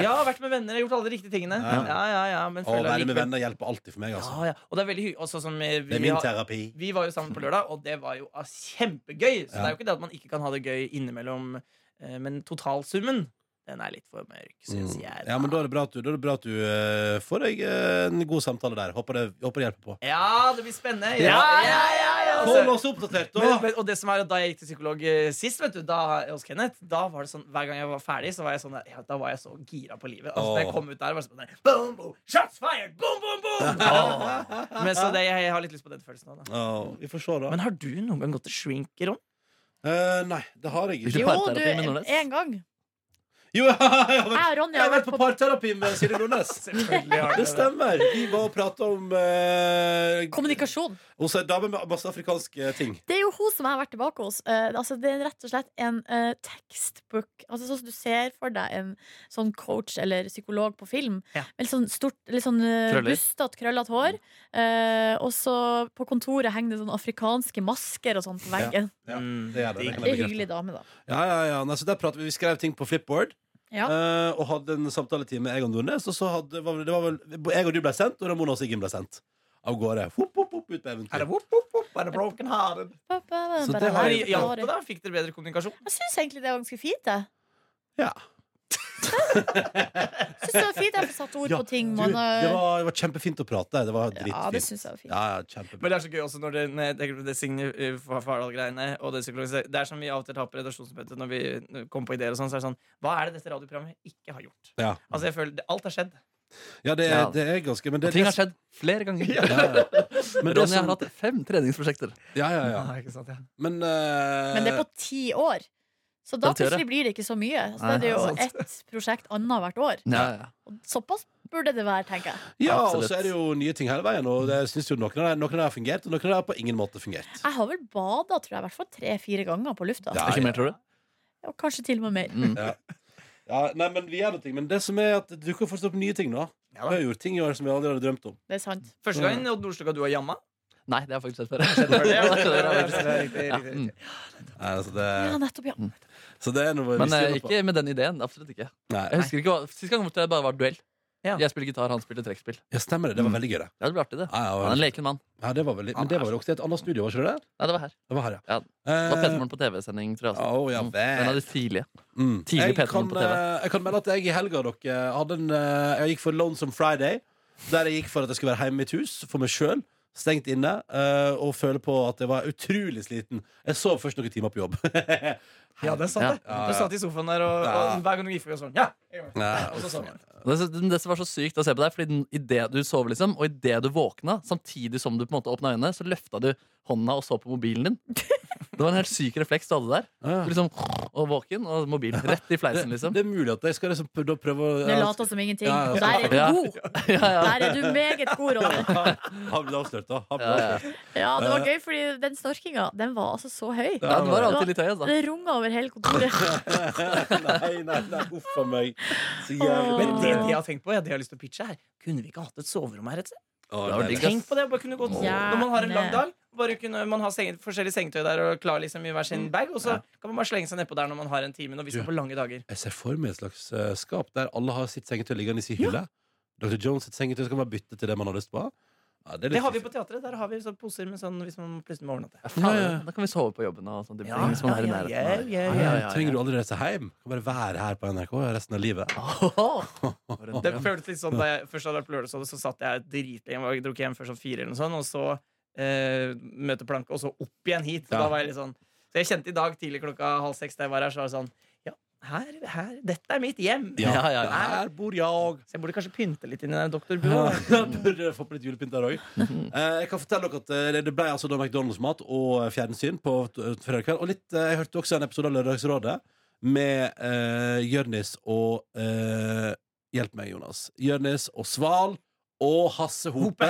Speaker 5: Ja, vært med venner, gjort alle de riktige tingene.
Speaker 2: Ja.
Speaker 5: Ja, ja, ja, men
Speaker 2: Å
Speaker 5: føler
Speaker 2: være med
Speaker 5: allikevel-
Speaker 2: venner hjelper alltid for meg, altså.
Speaker 5: Ja, ja. Og det er veldig hy- også som, eh, vi,
Speaker 2: Det er
Speaker 5: vi,
Speaker 2: min
Speaker 5: har,
Speaker 2: terapi.
Speaker 5: vi var jo sammen på lørdag, og det var jo ah, kjempegøy.
Speaker 2: Ja.
Speaker 5: Så det er jo ikke det at man ikke kan ha det gøy innimellom, eh, men totalsummen, den er litt for mørk, syns
Speaker 2: Mm.
Speaker 5: jeg.
Speaker 2: Ja, men da er det bra at du, da er det bra at du eh, får deg eh, en god samtale der. Håper det, håper det hjelper på.
Speaker 5: Ja, det blir spennende. Ja,
Speaker 2: Ja.
Speaker 5: ja, ja, ja, altså.
Speaker 2: Hold oss oppdatert, da!
Speaker 5: Men, men, og det som er at Da jeg gikk til psykolog eh, sist, vet du, da, hos Kenneth, da var det sånn hver gang jeg var ferdig, så var jeg sånn der, ja, da var jeg så gira på livet. Altså, Da jeg
Speaker 2: Åh.
Speaker 5: kom ut der, var det sånn der, boom, boom, Shots fired! Boom, boom, boom! [laughs] Men, så det, jeg, jeg har litt lyst på den følelsen. også, Da.
Speaker 2: Å, vi får se, da.
Speaker 5: Men har du noen gang gått til shrink, Ron?
Speaker 2: Eh, nei, det har jeg ikke.
Speaker 3: Ikke
Speaker 4: Jo, du,
Speaker 3: parterapi med Nordnes?
Speaker 4: en gang.
Speaker 2: Jo, [laughs] ja, jeg har
Speaker 4: Jeg
Speaker 2: vært,
Speaker 4: og Ronny
Speaker 2: jeg
Speaker 4: har
Speaker 2: har vært
Speaker 4: vært
Speaker 2: på
Speaker 4: på
Speaker 2: parterapi med Silje Nordnes.
Speaker 5: Selvfølgelig har
Speaker 2: [laughs] Det
Speaker 5: det det.
Speaker 2: stemmer. Vi var og prata om eh,
Speaker 4: kommunikasjon.
Speaker 2: Hos ei dame med masse afrikanske ting.
Speaker 4: Det er jo hun som jeg har vært tilbake hos. Eh, altså, det er rett og slett en eh, tekstbok. Altså, sånn som du ser for deg en sånn coach eller psykolog på film.
Speaker 5: Ja.
Speaker 4: Med litt sånn stort, litt sånn
Speaker 3: Krøller.
Speaker 4: bustete, krøllete hår. Eh, og så på kontoret henger det sånne afrikanske masker og sånn på
Speaker 2: Ja.
Speaker 4: veggen.
Speaker 2: Ja,
Speaker 5: Mm,
Speaker 2: det er det. Det
Speaker 5: digg.
Speaker 2: kan jeg
Speaker 4: Det er
Speaker 2: bekrefte.
Speaker 4: hyggelig dame, da.
Speaker 2: Ja, ja, ja. Nei, så der pratet vi. vi skrev ting på flipboard.
Speaker 4: Ja.
Speaker 2: eh, og hadde en samtaletime med jeg og Nordnes. Og så hadde, var, vel- det var vel jeg og du ble sendt, og Ramona og Siggen ble sendt. Av gårde. Hopp, hopp, hopp, ut på
Speaker 5: Er det
Speaker 2: eventyr.
Speaker 5: whoop, whoop, whoop? Er det broken hearted?
Speaker 4: Ba, ba, ba,
Speaker 2: Så
Speaker 4: ba,
Speaker 2: det
Speaker 4: da,
Speaker 2: har
Speaker 4: da,
Speaker 5: Men
Speaker 2: jeg-
Speaker 4: da,
Speaker 5: Hjalp
Speaker 4: da.
Speaker 5: det, da? Fikk dere bedre kommunikasjon?
Speaker 4: Jeg syns egentlig det var ganske fint, jeg. [laughs]
Speaker 2: Ja.
Speaker 4: Syns det var fint jeg får satt ord
Speaker 2: Ja,
Speaker 4: på ting
Speaker 2: Du,
Speaker 4: man
Speaker 2: det,
Speaker 4: har
Speaker 2: var, det var kjempefint å prate. Det var dritfint.
Speaker 4: Ja, det syns jeg var fint.
Speaker 2: Ja, ja, kjempebra.
Speaker 5: Men det er så gøy også når det, når jeg tenker på det Signe eh, Fa- Fardal-greiene og det psykologiske Det er som vi av og til tar på redaksjonsmøtet når vi eh, kommer på ideer og sånn, så er det sånn Hva er det dette radioprogrammet ikke har gjort?
Speaker 2: Ja,
Speaker 5: Altså, jeg føler det- Alt har skjedd.
Speaker 2: ja, det,
Speaker 3: Ja.
Speaker 2: er- det er ganske Men det,
Speaker 3: Ting har skjedd flere ganger.
Speaker 2: Ja, ja. Men det sånn-
Speaker 3: Ronny
Speaker 2: som-
Speaker 3: har hatt fem treningsprosjekter.
Speaker 2: Ja, ja, ja.
Speaker 5: ikke sant, ja.
Speaker 2: Men, eh,
Speaker 4: Men det er på ti år. Så da
Speaker 3: Femti år, ja.
Speaker 4: plutselig blir det ikke så mye. Så da
Speaker 3: Nei,
Speaker 4: er det jo
Speaker 3: sant.
Speaker 4: ett prosjekt annethvert år.
Speaker 3: Ja, ja.
Speaker 4: Og Såpass burde det være, tenker jeg.
Speaker 2: Ja, og
Speaker 3: Absolutt.
Speaker 2: så er det jo nye ting hele veien. Og det synes jo noen av dem noen av dem har fungert, og noen av dem har på ingen måte fungert.
Speaker 4: Jeg har vel bada tror jeg, i hvert fall tre-fire ganger på lufta.
Speaker 2: Ja.
Speaker 3: Ikke mer, tror du?
Speaker 4: Og kanskje til og med mer.
Speaker 3: Mm.
Speaker 2: Ja, nei, Men vi gjør noe. Men det som er at det dukker fortsatt opp nye ting nå.
Speaker 5: Ja da.
Speaker 2: Vi har gjort ting i år som vi aldri hadde drømt om.
Speaker 4: Det er sant.
Speaker 5: Første gangen Odd Nordstoga du har jamma. [laughs]
Speaker 3: Nei, det har jeg faktisk sett før.
Speaker 5: Det er- det er- det er-
Speaker 3: Ja,
Speaker 5: det er- riktig, riktig,
Speaker 3: mm.
Speaker 5: riktig.
Speaker 2: Nei, altså det,
Speaker 4: Ja, nettopp, ja.
Speaker 2: så det er noe vi
Speaker 3: Men eh,
Speaker 2: stiller på.
Speaker 3: ikke med den ideen. Absolutt ikke. Jeg
Speaker 2: Nei.
Speaker 3: husker ikke hva, Sist gang måtte jeg bare var duell.
Speaker 5: Ja.
Speaker 3: Jeg spiller gitar, han spiller trekkspill.
Speaker 2: Ja, stemmer det. Det var veldig gøy, det.
Speaker 3: Mm. Ja, det blir artig, det.
Speaker 2: Ja,
Speaker 3: Han
Speaker 2: ja,
Speaker 3: er en
Speaker 2: ja.
Speaker 3: leken mann.
Speaker 2: ja, det var vel, men det var vel også i et annet studio, var ikke det? der?
Speaker 3: Nei, det var her.
Speaker 2: Det var her, ja. Eh,
Speaker 3: Ja, Det var Petermoren på TV-sending, tror jeg.
Speaker 2: Å,
Speaker 3: Også.
Speaker 2: ja
Speaker 3: Mm. En
Speaker 2: vel.
Speaker 3: av de tidlige.
Speaker 2: Mm.
Speaker 3: tidlig
Speaker 2: Jeg
Speaker 3: Peter
Speaker 2: kan,
Speaker 3: på TV.
Speaker 2: eh, jeg kan melde at jeg i helga dere hadde en eh, Jeg gikk for Lonesome Friday, der jeg gikk for at jeg skulle være hjemme i mitt hus for meg sjøl. Stengt inne eh, og føle på at jeg var utrolig sliten. Jeg sov først noen timer på jobb. [laughs]
Speaker 5: Ja, det er sant, det.
Speaker 2: Ja, ja.
Speaker 5: Du satt i sofaen der, og,
Speaker 2: Ja.
Speaker 5: og hver gang du gikk forbi, sånn Ja! jeg gjør det.
Speaker 2: Ja,
Speaker 5: Og så sov jeg.
Speaker 3: Det, det som var så sykt å se på deg, Fordi den, i det du sov, liksom, og idet du våkna, samtidig som du på en måte åpna øynene, så løfta du hånda og så på mobilen [laughs] din. Det var en helt syk refleks du hadde der.
Speaker 2: Ja.
Speaker 3: Du liksom, og våken, og mobilen rett i fleisen, liksom.
Speaker 2: Det er mulig at jeg skal liksom prø- da prøve å
Speaker 4: Du later som ingenting.
Speaker 2: Ja, ja,
Speaker 4: Og der er
Speaker 3: ja.
Speaker 4: du god!
Speaker 3: [laughs] Ja, ja.
Speaker 4: Der er du meget god, Ronny.
Speaker 2: Han ble avslørt, da. Han ble
Speaker 3: Ja, ja.
Speaker 2: avslørt.
Speaker 4: Ja, det var gøy, fordi den snorkinga, den var altså så høy.
Speaker 3: Ja, den var alltid litt høy, altså.
Speaker 4: Det runga over
Speaker 3: [laughs]
Speaker 4: hele kontoret.
Speaker 2: [laughs] nei, nei, nei, uff a meg. Så jævlig
Speaker 5: Men
Speaker 4: Åh.
Speaker 5: det, det jeg har tenkt på, ja, det jeg har lyst til å pitche her Kunne vi ikke hatt et soverom her et sted?
Speaker 2: Å,
Speaker 3: Det var
Speaker 2: nei,
Speaker 3: digg,
Speaker 2: nei.
Speaker 3: ass.
Speaker 5: Tenk på det, bare kunne gått
Speaker 4: Gjerne.
Speaker 5: Når man har en lang dag Bare kunne man ha seng, forskjellige sengetøy der Og klar liksom i hver sin bag Og så kan man bare slenge seg nedpå der når man har en time Når vi skal på lange dager
Speaker 2: Jeg ser for meg et slags eh, skap der alle har sitt sengetøy liggende i sin hylle. Dr. Jones sitt sengetøy skal bare bytte til det man har lyst på. Ja, er litt
Speaker 5: Det har vi
Speaker 2: fiffig.
Speaker 5: på teatret, der har vi sånn poser med sånn Hvis man plutselig må overnatte
Speaker 3: Ja, faen, Da kan vi sove på jobben og sånn.
Speaker 5: Ja,
Speaker 3: Hvis man er i
Speaker 5: ja, ja,
Speaker 3: nærheten.
Speaker 5: ja,
Speaker 2: Ja,
Speaker 5: ja,
Speaker 3: ja.
Speaker 2: Trenger du aldri reise hjem? Kan bare være her på NRK resten av livet.
Speaker 3: For en
Speaker 5: Det
Speaker 3: drøm.
Speaker 5: føltes litt sånn Da jeg først hadde vært på lørdagsholdet Så satt jeg dritlenge Jeg dro ikke hjem før sånn fire eller noe sånt Og så eh, møteplank Og så opp igjen hit
Speaker 2: Ja.
Speaker 5: Da var jeg litt sånn Så jeg kjente i dag tidlig klokka halv seks Da jeg var her så var det sånn Ja, her, her, dette er mitt hjem
Speaker 3: Ja, ja, ja.
Speaker 2: Her bor jeg!
Speaker 5: Så jeg burde kanskje pynte litt inn i den
Speaker 2: Ja,
Speaker 5: doktorbua
Speaker 2: [laughs] jeg burde få på litt julepynt der òg. Jeg kan fortelle dere at eh, det ble altså da McDonald's-mat og eh, fjernsyn på t- fredag kveld. Og litt, eh, jeg hørte også en episode av Lørdagsrådet med uh, Jørnis og eh, Hjelp meg, Jonas. Jørnis og Sval og Hasse Hope.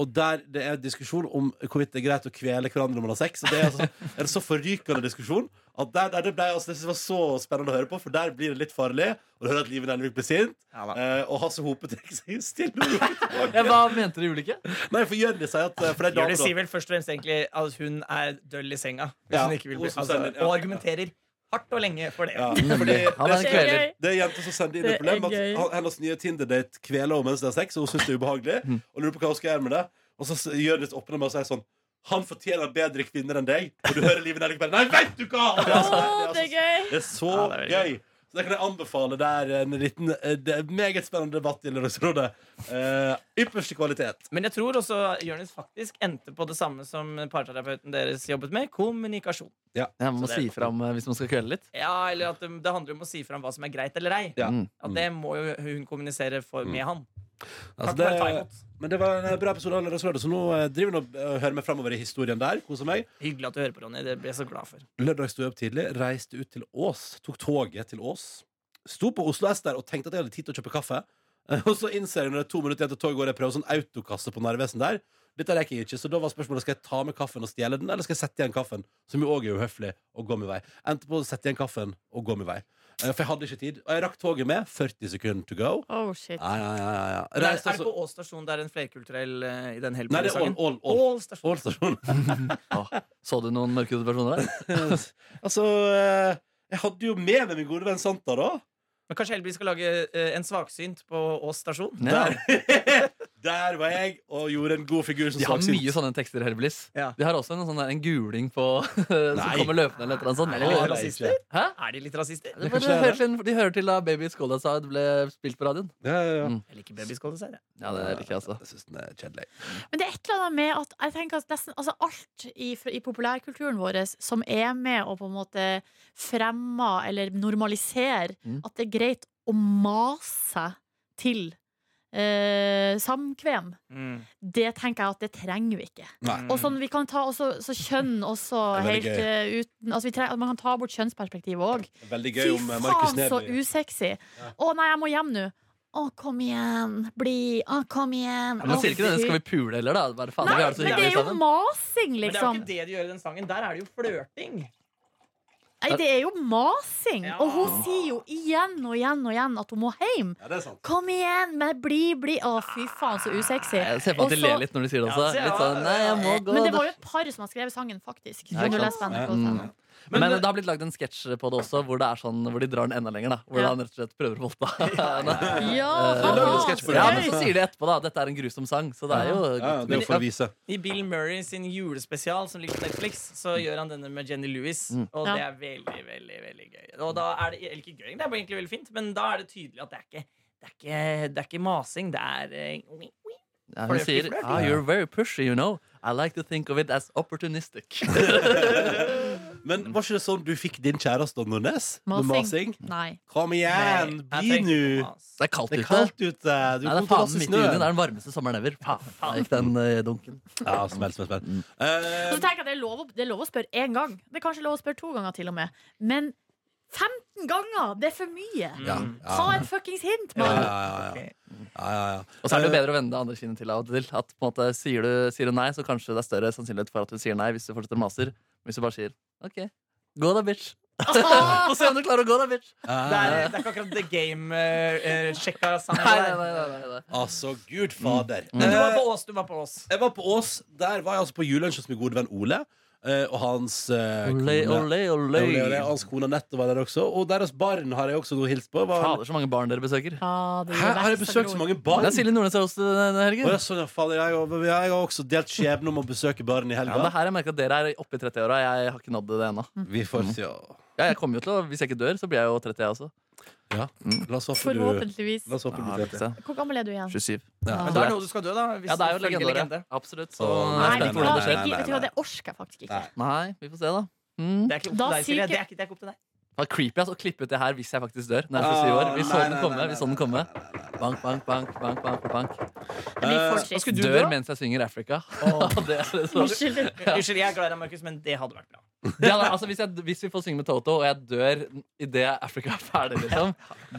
Speaker 2: Og der det er diskusjon om hvorvidt det er greit å kvele hverandre når man har sex. Og det er altså [laughs] en så forrykende diskusjon at der, der det, ble, altså, det synes jeg var så spennende å høre på, for der blir det litt farlig. Og du hører at Liven Elvik blir sint,
Speaker 5: Ja da.
Speaker 2: eh, og Hasse Hope trekker seg stille og rolig tilbake.
Speaker 3: Ja, hva mente du, ulike?
Speaker 2: Nei, for Jørnis sier at eh, For det er dame,
Speaker 5: Jørgen sier vel først og fremst egentlig at hun er døll i senga. Hvis
Speaker 2: Ja,
Speaker 5: hun ikke vil bli
Speaker 2: hun som
Speaker 5: altså,
Speaker 2: sender, ja.
Speaker 5: Og argumenterer hardt og lenge for det.
Speaker 2: da. Ja,
Speaker 5: [laughs]
Speaker 2: fordi
Speaker 3: Nemlig. Han
Speaker 2: det,
Speaker 3: er en
Speaker 4: Det er
Speaker 3: kveler.
Speaker 4: gøy.
Speaker 2: det er jenter som sender inn
Speaker 4: Det
Speaker 2: et problem.
Speaker 4: er
Speaker 2: At
Speaker 4: gøy.
Speaker 2: han- hennes nye Tinder-date kveler henne mens de har sex, og hun syns det er ubehagelig. Og lurer på hva hun skal gjøre med det. Og så s- Jørnis åpner med å si sånn Han fortjener bedre kvinner enn deg. Og du hører Liven Elvik bare Nei, veit du hva! Og Det er,
Speaker 4: Å,
Speaker 2: altså-
Speaker 4: det
Speaker 2: det er,
Speaker 4: er
Speaker 2: altså-
Speaker 4: gøy!
Speaker 2: det er så
Speaker 5: Ja, det er
Speaker 2: gøy.
Speaker 5: veldig
Speaker 2: Så det kan jeg anbefale. Det er en liten eh, det er en meget spennende debatt i Lørdagsrådet. Eh, ypperste kvalitet.
Speaker 5: Men jeg tror også Jonis faktisk endte på det samme som parterapeuten deres jobbet med. Kommunikasjon.
Speaker 3: Ja, man må
Speaker 5: Så det-
Speaker 3: si fra om, eh, hvis man skal kvele litt.
Speaker 5: Ja, eller at um, Det handler om å si fra om hva som er greit eller ei.
Speaker 2: Ja.
Speaker 3: Mm.
Speaker 5: At det må jo hun kommunisere for, med han.
Speaker 2: Mm. Altså,
Speaker 5: for at jeg tar
Speaker 2: det,
Speaker 5: imot.
Speaker 2: men det var en eh, bra episode av Lørdagsrådet, så nå eh, driver vi og eh, hører meg framover i historien der. Koser meg.
Speaker 5: Hyggelig at du hører på, Ronny. Det blir jeg så glad for.
Speaker 2: Lørdag sto jeg opp tidlig, reiste ut til Ås, tok toget til Ås. Sto på Oslo S der og tenkte at jeg hadde tid til å kjøpe kaffe. [laughs] Og så innser jeg når det er to minutter igjen til toget går, jeg prøver sånn autokasse på Narvesen der. Dette rekker jeg ikke, så da var spørsmålet skal jeg ta med kaffen og stjele den, eller skal jeg sette igjen kaffen, som jo òg er uhøflig, og gå min vei. Endte på å sette igjen kaffen og gå min vei. Eh, For jeg hadde ikke tid. Og jeg rakk toget med 40 sekunder to go.
Speaker 4: Oh, shit.
Speaker 2: Ja, ja, ja, ja, ja.
Speaker 5: Er,
Speaker 2: Reiste
Speaker 5: er det
Speaker 2: altså
Speaker 5: på Ås stasjon det er en flerkulturell eh, i den
Speaker 2: Nei, det er Ål,
Speaker 5: Hellbilly-sangen?
Speaker 2: Ål, Ål.
Speaker 5: Ål stasjon.
Speaker 2: Ål stasjon.
Speaker 3: Åh, så du noen mørkhudede personer der?
Speaker 2: altså eh, Jeg hadde jo med meg min gode venn Santa, da.
Speaker 5: Men kanskje Hellbilly skal lage eh, en svaksynt på Ås stasjon?
Speaker 3: Ja.
Speaker 2: Der var jeg og gjorde en god figur som
Speaker 3: De har
Speaker 2: svaksynt.
Speaker 3: mye sånn. sånne tekster i Herbelis.
Speaker 5: Ja.
Speaker 3: De har også en, sånn der, en guling på, [laughs] som
Speaker 2: Nei.
Speaker 3: kommer løpende eller et eller
Speaker 5: Er det litt
Speaker 3: annet sånt.
Speaker 5: rasister?
Speaker 3: Hæ?
Speaker 5: Er de litt rasister?
Speaker 3: Det
Speaker 2: kan
Speaker 3: bare
Speaker 2: skje,
Speaker 3: hører til, de hører til da Baby Skål Outside ble spilt på radioen.
Speaker 2: Ja, ja, ja.
Speaker 3: Mm.
Speaker 5: Jeg liker babyskåldesign. jeg.
Speaker 3: Ja, det liker jeg altså.
Speaker 2: Mm. Jeg syns den er kjedelig.
Speaker 4: Men det er et eller annet med at jeg tenker at nesten altså alt i, fra- i populærkulturen vår som er med å på en måte fremme eller normalisere
Speaker 3: Mm.
Speaker 4: at det er greit å mase til eh, samkvem,
Speaker 5: Mm.
Speaker 4: det tenker jeg at det trenger vi ikke.
Speaker 2: Nei.
Speaker 4: Og sånn, vi kan ta også, så kjønn også
Speaker 2: Mm. Det er veldig
Speaker 4: helt eh, uten altså vi treng, Man kan ta bort kjønnsperspektivet òg.
Speaker 2: Veldig
Speaker 4: Fy
Speaker 2: gøy om eh, Markus
Speaker 4: faen, så
Speaker 2: Neby
Speaker 4: usexy! Å nei, jeg må hjem nå! Å, kom igjen! Bli! Å, kom igjen!
Speaker 3: Men nå
Speaker 4: Å,
Speaker 3: sier ikke denne
Speaker 4: fy.
Speaker 3: 'skal vi pule' heller, da. Bare, faen,
Speaker 4: Nei,
Speaker 3: vi har det så
Speaker 4: men det
Speaker 3: hyggelig liksom.
Speaker 4: er jo
Speaker 3: sammen.
Speaker 4: masing,
Speaker 5: Men det er jo
Speaker 4: liksom.
Speaker 5: ikke det de gjør i den sangen. Der er det jo flørting.
Speaker 4: Nei, det er jo masing.
Speaker 5: Ja.
Speaker 4: Og hun sier jo igjen og igjen og igjen at hun må hjem.
Speaker 2: Ja, det er sant.
Speaker 4: Kom igjen, men bli, bli. Å, fy faen, så usexy.
Speaker 3: Jeg ser for meg at de
Speaker 4: Og så-
Speaker 3: ler litt når de sier det også.
Speaker 5: Ja, så-
Speaker 3: Litt sånn, nei, jeg må gå
Speaker 4: Men det var jo et par som har skrevet sangen, faktisk.
Speaker 3: Ja,
Speaker 4: Når du
Speaker 3: ikke
Speaker 4: leser på
Speaker 3: sant?
Speaker 4: NRK.
Speaker 3: Men, eh,
Speaker 5: Men-
Speaker 3: det har blitt lagd en sketsj på det også, hvor det er sånn, hvor de drar den enda lenger. da Hvor
Speaker 4: Ja.
Speaker 3: han rett og slett prøver å voldta
Speaker 4: [laughs]
Speaker 3: henne.
Speaker 4: Ja,
Speaker 3: Eh,
Speaker 2: Det er lagd en
Speaker 4: haha,
Speaker 2: sketsj på
Speaker 4: så
Speaker 2: det.
Speaker 3: Ja, men så
Speaker 4: gøy!
Speaker 3: sier de etterpå da dette er en grusom sang. Så det er jo
Speaker 2: Ja, ja, det er jo for å vise.
Speaker 5: I Bill Murray sin julespesial som ligger på Netflix, så gjør han denne med Jenny Lewis.
Speaker 3: Mm.
Speaker 5: Og
Speaker 4: Ja.
Speaker 5: det er veldig, veldig veldig gøy. Og da er det, eller ikke gøy, det er bare egentlig veldig fint, men da er det tydelig at det er ikke, det er ikke, det er ikke masing. Det er eh,
Speaker 3: ja, Hun
Speaker 5: Flørting,
Speaker 3: sier
Speaker 5: flørting.
Speaker 3: ah, 'You're very pushy, you know'. I like to think of it as
Speaker 2: [laughs]
Speaker 3: opportunistic.
Speaker 2: Men var ikke det sånn du fikk din kjæreste, Don Nordnes? Med masing?
Speaker 4: Masing. Nei.
Speaker 2: Kom igjen,
Speaker 5: Nei,
Speaker 2: bli
Speaker 5: jeg
Speaker 2: nå!
Speaker 5: trenger ikke mas.
Speaker 3: Det er kaldt
Speaker 2: Det
Speaker 3: ute.
Speaker 2: er kaldt ute. Du
Speaker 3: Nei,
Speaker 2: kom
Speaker 3: det er
Speaker 2: til å
Speaker 3: faen
Speaker 2: lasse
Speaker 3: midt i
Speaker 2: snø.
Speaker 3: juni. Det er den varmeste sommeren ever. Faen, der gikk den eh, dunken.
Speaker 2: Ja, smell, smell, smell.
Speaker 3: Mm.
Speaker 4: Så
Speaker 2: Eh,
Speaker 4: tenker jeg at det er, lov, å- det er lov å spørre én gang. Det er kanskje lov å spørre to ganger til og med. Men 15 ganger! Det er for mye.
Speaker 3: Mm.
Speaker 2: ja, ja.
Speaker 4: Ta et fuckings hint,
Speaker 2: Ja,
Speaker 4: mann.
Speaker 2: ja, ja, ja. ja, ja, Eh, ja.
Speaker 3: Og så er det jo bedre å vende det andre kinnet til av og til. At på en måte Sier du, sier du nei, så kanskje det er større sannsynlighet for at hun sier nei hvis du fortsetter å maser. Hvis du bare sier OK, gå
Speaker 2: [laughs]
Speaker 3: da, bitch. Få se om du klarer å gå da, bitch.
Speaker 2: eh,
Speaker 5: Det er, det er ikke akkurat The Game-sjekka
Speaker 3: Nei,
Speaker 5: sangen.
Speaker 3: nei,
Speaker 5: der.
Speaker 3: nei, nei, nei, nei.
Speaker 2: Altså, gud fader.
Speaker 3: Mm.
Speaker 5: Men du var på Ås. Du var på Ås.
Speaker 2: Jeg var på Ås. Der var jeg altså på julelunsj hos min gode venn Ole. eh, Og hans eh,
Speaker 3: Ole,
Speaker 2: kone.
Speaker 3: ole, ole.
Speaker 2: Ole, ole. Hans kone Anette var der også. Og deres barn har jeg også nå hilst på. Var...
Speaker 3: Fader, så mange barn dere besøker.
Speaker 4: Ja, det
Speaker 2: Hæ,
Speaker 4: gir
Speaker 2: har jeg
Speaker 4: vekst og
Speaker 2: besøkt så
Speaker 4: gror.
Speaker 2: mange
Speaker 3: Det
Speaker 2: barn?
Speaker 3: er Silje Nordnes her også
Speaker 2: Å,
Speaker 3: denne
Speaker 2: ja,
Speaker 3: helgen.
Speaker 2: sånn, ja, fader, jeg, har- jeg har også delt skjebne om å besøke barn i
Speaker 3: Ja, det
Speaker 2: helga.
Speaker 3: er her jeg merker at dere er oppe i 30-åra. Jeg har ikke nådd det ennå.
Speaker 2: Vi får se. ja.
Speaker 3: Ja, jeg kommer jo til å, Hvis jeg ikke dør, så blir jeg jo 30, jeg også.
Speaker 2: Ja. La oss håpe du
Speaker 4: Forhåpentligvis.
Speaker 2: La oss håpe
Speaker 3: Ja,
Speaker 2: du
Speaker 3: vi
Speaker 2: vet
Speaker 3: får
Speaker 2: det.
Speaker 3: se.
Speaker 4: Hvor gammel er du igjen?
Speaker 3: 27.
Speaker 2: Ja.
Speaker 5: Men det er noe du skal dø, da. Hvis
Speaker 3: Ja, det er jo
Speaker 5: du følger
Speaker 3: legendene.
Speaker 5: legende.
Speaker 3: Absolunt. Så
Speaker 2: Åh,
Speaker 4: Nei,
Speaker 2: Nei,
Speaker 4: vet du
Speaker 2: nei,
Speaker 4: hva,
Speaker 2: nei,
Speaker 4: det
Speaker 2: nei,
Speaker 4: gir- vet du hva,
Speaker 2: nei.
Speaker 4: det orker jeg faktisk ikke.
Speaker 2: Nei.
Speaker 3: Nei, vi får se, da. Mm.
Speaker 5: Det er ikke opp
Speaker 4: Da
Speaker 5: til deg, Silje.
Speaker 4: sier
Speaker 5: Det
Speaker 4: ikke-
Speaker 5: er ikke, det er ikke opp til deg.
Speaker 3: Det var creepy altså, å klippe ut det her hvis jeg faktisk dør. Når jeg er 27 år. Vi så den komme. vi så den komme Bank, bank, bank, bank, bank, bank.
Speaker 4: Det blir for
Speaker 5: Hva
Speaker 4: trist.
Speaker 5: skulle du
Speaker 3: Dør
Speaker 5: dø?
Speaker 3: mens jeg synger Africa. [laughs] det er det som-
Speaker 4: Unnskyld.
Speaker 5: Unnskyld, jeg er glad i deg, Markus, men det hadde vært bra.
Speaker 3: Ja, da, altså, hvis, jeg, hvis vi får synge med Toto, og jeg dør idet Africa er ferdig, liksom,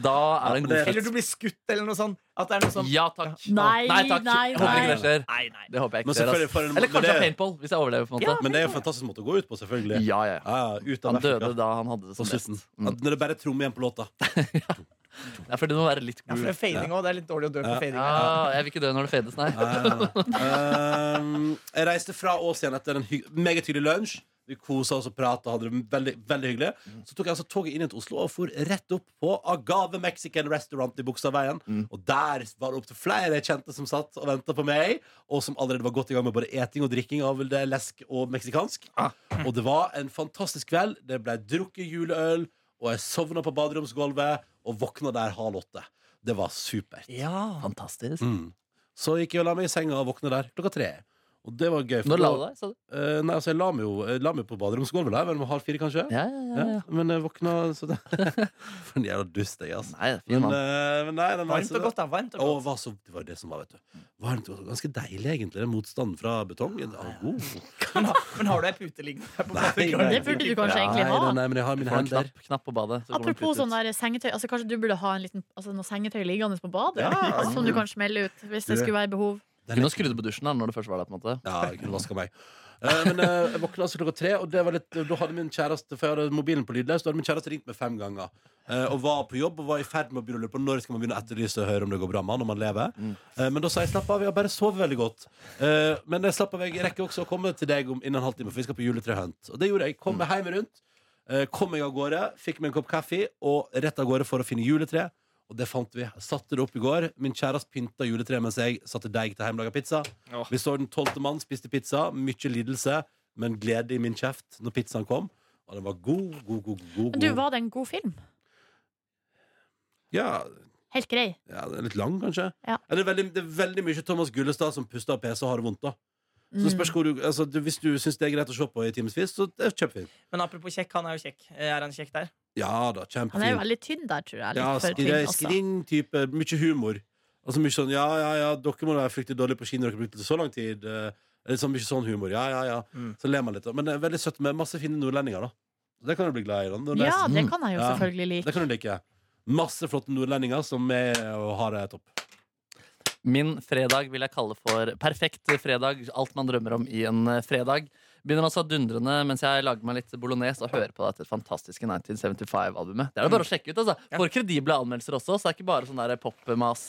Speaker 3: da er det en god
Speaker 2: Eller
Speaker 5: Eller
Speaker 3: slutt.
Speaker 5: du blir skutt, eller noe sånt. At det er noe sånn
Speaker 3: Ja takk.
Speaker 4: Nei,
Speaker 3: takk.
Speaker 4: nei,
Speaker 3: Jeg håper ikke det skjer.
Speaker 5: Nei, nei.
Speaker 3: Det håper jeg
Speaker 2: Men
Speaker 3: ikke skjer.
Speaker 2: selvfølgelig,
Speaker 3: ass.
Speaker 2: for en,
Speaker 3: Eller
Speaker 2: men
Speaker 3: kanskje
Speaker 2: det,
Speaker 3: paintball, hvis jeg overlever. på en måte
Speaker 2: men det er jo en fantastisk måte å gå ut på, selvfølgelig.
Speaker 3: Ja, ja, ja.
Speaker 2: Ja, ja, ut av
Speaker 3: Han døde
Speaker 2: Afrika
Speaker 3: da han hadde
Speaker 2: på
Speaker 3: det som best.
Speaker 2: slutten.
Speaker 3: Mm.
Speaker 2: At Når det bare er tromme igjen på låta.
Speaker 3: Ja, for det må være litt
Speaker 5: Ja, for det
Speaker 3: groove.
Speaker 5: er fading òg. Det er litt dårlig å dø på
Speaker 2: Ja.
Speaker 5: fading.
Speaker 3: Ja, jeg vil ikke dø når det fedes, nei.
Speaker 2: Ehm, Eh, jeg reiste fra Ås igjen etter en hy- meget hyggelig lunsj. Vi kosa oss og prata. Hadde det veldig, veldig hyggelig Så tok jeg altså toget inn igjen til Oslo og for rett opp på Agave Mexican Restaurant i Bogstadveien. Og der var det opptil flere jeg kjente som satt og venta på meg, og som allerede var godt i gang med både eting og drikking av vel det lesk og meksikansk. Og det var en fantastisk kveld. Det ble drukket juleøl, og jeg sovna på baderomsgulvet og våkna der halv åtte. Det var supert.
Speaker 5: Ja.
Speaker 3: Fantastisk.
Speaker 2: Mm. Så gikk jeg og la meg i senga og våkna der klokka tre. Og det var gøy. for
Speaker 3: Når la
Speaker 2: da-
Speaker 3: du deg? sa du?
Speaker 2: Eh, nei, altså, jeg la meg jo, jeg la meg på baderomsgulvet der, mellom halv fire, kanskje.
Speaker 3: Ja, ja, ja, ja.
Speaker 2: Ja, men jeg våkna så
Speaker 3: [laughs]
Speaker 2: det For en jævla dust, jeg, altså.
Speaker 3: Nei,
Speaker 2: Men,
Speaker 3: fin mann.
Speaker 2: eh, men nei, nei, nei,
Speaker 5: Varmt
Speaker 2: så
Speaker 5: og
Speaker 2: det-
Speaker 5: godt, da. Varmt og
Speaker 2: Å,
Speaker 5: godt.
Speaker 2: hva så, det var det som var, vet du. Varmt og Ganske deilig, egentlig. Den motstanden fra betongen. Ah, god.
Speaker 5: Men, har- men har du ei pute liggende her på
Speaker 2: Nei,
Speaker 5: badet?
Speaker 2: nei.
Speaker 4: Det burde du kanskje
Speaker 3: Ja,
Speaker 4: egentlig
Speaker 2: Nei,
Speaker 4: ha.
Speaker 2: nei, men jeg har
Speaker 3: Du
Speaker 2: mine
Speaker 3: får en
Speaker 2: hender.
Speaker 3: knapp, knapp på badet. så kommer det
Speaker 4: Apropos
Speaker 3: en plut
Speaker 4: sånn
Speaker 3: ut.
Speaker 4: der sengetøy. Altså, kanskje du burde ha en liten, altså, noe sengetøy liggende på badet?
Speaker 2: Ja.
Speaker 4: Som du kan smelle ut hvis det
Speaker 2: Du-
Speaker 4: skulle være behov.
Speaker 3: Du kunne skrudd på dusjen da, når du først var der. på en måte
Speaker 2: Ja, jeg kunne vaska meg. Eh, men eh, jeg våkna altså klokka tre, og det var litt, da hadde min kjæreste For jeg hadde mobilen på lydløs, da hadde min kjæreste ringt meg fem ganger. eh, og var på jobb og var i ferd med å begynne å lure på når skal man begynne å etterlyse og høre om det går bra med han, om han lever. Eh, men da sa jeg slapp av, jeg har bare sovet veldig godt. Eh, men jeg slapp av, jeg rekker også å komme til deg om innen en halvtime, for vi skal på juletrehunt. Og det gjorde jeg. Kom meg hjem rundt, eh, kom meg av gårde, fikk meg en kopp kaffe og rett av gårde for å finne juletre. Og det fant vi. Satte det opp i går. Min kjæreste pynta juletreet mens jeg satte deig til hjemmelaga pizza. Vi så den tolvte mann, spiste pizza. Mye lidelse, men glede i min kjeft når pizzaen kom. Og den var god, god, god. god,
Speaker 4: Men du,
Speaker 2: god.
Speaker 4: var det en god film?
Speaker 2: Ja,
Speaker 4: Helt grei.
Speaker 2: ja, den er litt lang, kanskje.
Speaker 4: Ja.
Speaker 2: Det, er veldig, det er veldig mye Thomas Gullestad som puster av PC og har det vondt. da Så
Speaker 4: Mm.
Speaker 2: det spørs hvor du, altså, du, Hvis du syns det er greit å se på i timevis, så eh, kjøp film.
Speaker 5: Men apropos kjekk, han er jo kjekk. Eh, Er han kjekk der?
Speaker 2: Ja da,
Speaker 4: Han er jo
Speaker 2: kjempefin.
Speaker 4: veldig tynn der, tror jeg. Litt
Speaker 2: Ja,
Speaker 4: for tynn,
Speaker 2: skri-
Speaker 4: altså.
Speaker 2: Skrin-type. Mye humor. Altså mye sånn Ja, ja, ja, dere må være fryktelig dårlige på ski når dere brukte det så lang tid. eh, Litt sånn mye sånn humor. Ja, ja, ja.
Speaker 5: Mm.
Speaker 2: Så ler man litt. da. Men det er veldig søtt med masse fine nordlendinger, da. Så Det kan du bli glad i. da Når det er
Speaker 4: Ja, det
Speaker 3: Mm.
Speaker 4: kan jeg jo
Speaker 2: Ja.
Speaker 4: selvfølgelig like.
Speaker 2: Det kan du like. Masse flotte nordlendinger som er og har det topp.
Speaker 3: Min fredag vil jeg kalle for perfekt fredag. Alt man drømmer om i en eh, fredag. Begynner altså dundrende mens jeg lager meg litt bolognese og hører på dette fantastiske 1975-albumet. Det er det bare å sjekke ut. altså Får kredible anmeldelser også, så det er ikke bare sånn der popmas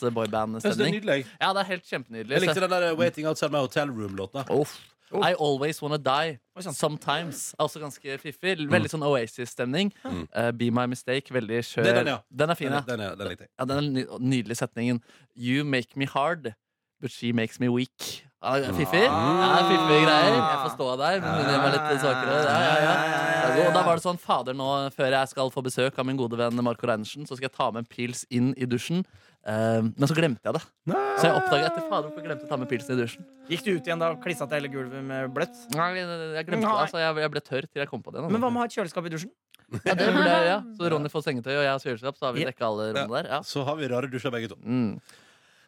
Speaker 2: Jeg synes det er
Speaker 3: boyband-stemning.
Speaker 2: nydelig.
Speaker 3: Ja, det er helt
Speaker 2: Jeg
Speaker 3: kjempenydelig.
Speaker 2: likte den der eh, Waiting Outside My Hotel Room-låta.
Speaker 3: Så- Uff. I Always Wanna Die
Speaker 5: Oi, sant.
Speaker 3: Sometimes. Er også ganske fiffig. Veldig sånn Oasis-stemning.
Speaker 2: Mm.
Speaker 3: Eh, Be My Mistake. Veldig skjør.
Speaker 2: Det er den, ja.
Speaker 3: Den er fin,
Speaker 2: Den,
Speaker 3: ja.
Speaker 2: den, er- den likte jeg.
Speaker 3: Ja, den ny- nydelige setningen You make me hard, but she makes me weak. Ja, det er Fiffig. Ja, det er fiffige greier. Jeg får stå der, men hun gjør meg litt svakere. Ja, ja, ja. Ja, Og da var det sånn Fader, nå før jeg skal få besøk av min gode venn Marco Reinersen, så skal jeg ta med en pils inn i dusjen. Eh, men så glemte jeg det. Så jeg oppdaget etter fader hvorfor glemte jeg å ta med pilsen i dusjen.
Speaker 5: Gikk du ut igjen da og klissa til hele gulvet med bløtt?
Speaker 3: Nei, jeg- jeg glemte det, altså jeg, jeg ble tørr til jeg kom på det. nå.
Speaker 5: Men hva med å ha et kjøleskap i dusjen?
Speaker 3: ja, det burde jeg, ja. Så Ronny får sengetøy, og jeg har kjøleskap, så har vi dekka alle rommene der. Ja.
Speaker 2: Så har vi rare dusjer, begge to.
Speaker 3: Mm.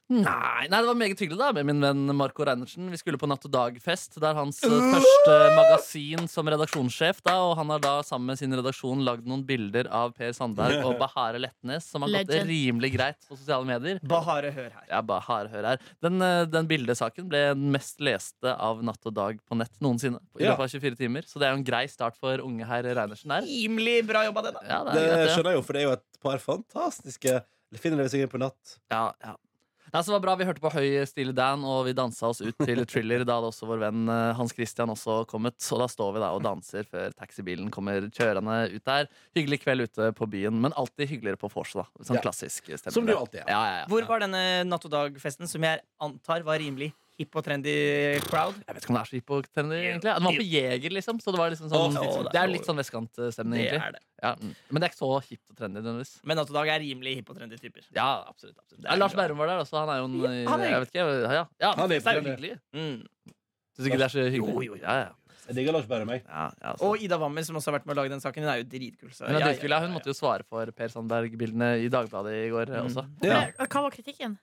Speaker 3: Nei, nei, det var meget hyggelig da med min venn Marco Reinertsen. Vi skulle på Natt og dag-fest. Det er hans eh, første magasin som redaksjonssjef. da Og han har da sammen med sin redaksjon lagd noen bilder av Per Sandberg og Bahare Letnes, som har gått
Speaker 4: Legend.
Speaker 3: rimelig greit på sosiale medier.
Speaker 5: Bare hør her.
Speaker 3: Ja, Bahare, hør her. Den, eh, den bildesaken ble den mest leste av Natt og dag på nett noensinne. I
Speaker 2: Ja.
Speaker 3: løpet av 24 timer Så det er jo en grei start for unge herr Reinertsen her.
Speaker 5: Rimelig bra jobba, det, da.
Speaker 3: Ja, det
Speaker 2: Det
Speaker 3: er greit, ja.
Speaker 2: skjønner jeg jo, for det er jo et par fantastiske Finner dere seg inn på natt.
Speaker 3: Ja, ja. Nei, så det var bra, Vi hørte på høy Stille Dan, og vi dansa oss ut til Thriller. Da hadde også vår venn eh, Hans Christian også kommet. Og da står vi da og danser før taxibilen kommer kjørende ut der. Hyggelig kveld ute på byen, men alltid hyggeligere på vors. da. Sånn
Speaker 2: Ja.
Speaker 3: klassisk stemning.
Speaker 2: Som det
Speaker 3: der.
Speaker 2: jo alltid er.
Speaker 3: Ja, ja, ja.
Speaker 5: Hvor var denne Natt og dag-festen, som jeg antar var rimelig hipp og trendy crowd?
Speaker 3: Jeg vet ikke om det er så hypotrendy, egentlig. Den var på Jeger, liksom. så Det var liksom sånn,
Speaker 5: Å, fy søren.
Speaker 3: det er litt sånn vestkantstemning,
Speaker 5: Det
Speaker 3: egentlig.
Speaker 5: er det.
Speaker 3: Ja, mm. men det er ikke så hipt og trendy, nødvendigvis.
Speaker 5: Men Natt og dag er rimelig hipp og trendy typer.
Speaker 3: Ja, absolutt. absolutt.
Speaker 5: er
Speaker 3: Ja, Lars
Speaker 5: bra.
Speaker 3: Berrum var der også. Han er jo en
Speaker 5: Ja, han er
Speaker 3: Jeg vet ikke. Ja, ja. ja
Speaker 2: Han er
Speaker 3: det er jo
Speaker 2: hypotrendy.
Speaker 3: hyggelig.
Speaker 5: Mm.
Speaker 3: Syns ikke det er så hyggelig?
Speaker 5: Jo, jo, jo.
Speaker 3: Ja, ja.
Speaker 2: Jeg digger Lars Bærum, jeg.
Speaker 3: Ja, ja, altså.
Speaker 5: Og Ida Wammer, som også har vært med å lage den saken, hun er jo dritkul. så-
Speaker 3: Hun, er
Speaker 5: Ja, ja,
Speaker 3: dritkul, ja.
Speaker 5: ja,
Speaker 3: hun
Speaker 5: ja.
Speaker 3: måtte jo svare for Per Sandberg-bildene i Dagbladet i går
Speaker 4: Mm.
Speaker 3: eh, også.
Speaker 2: Ja.
Speaker 4: Men, Hva var kritikken?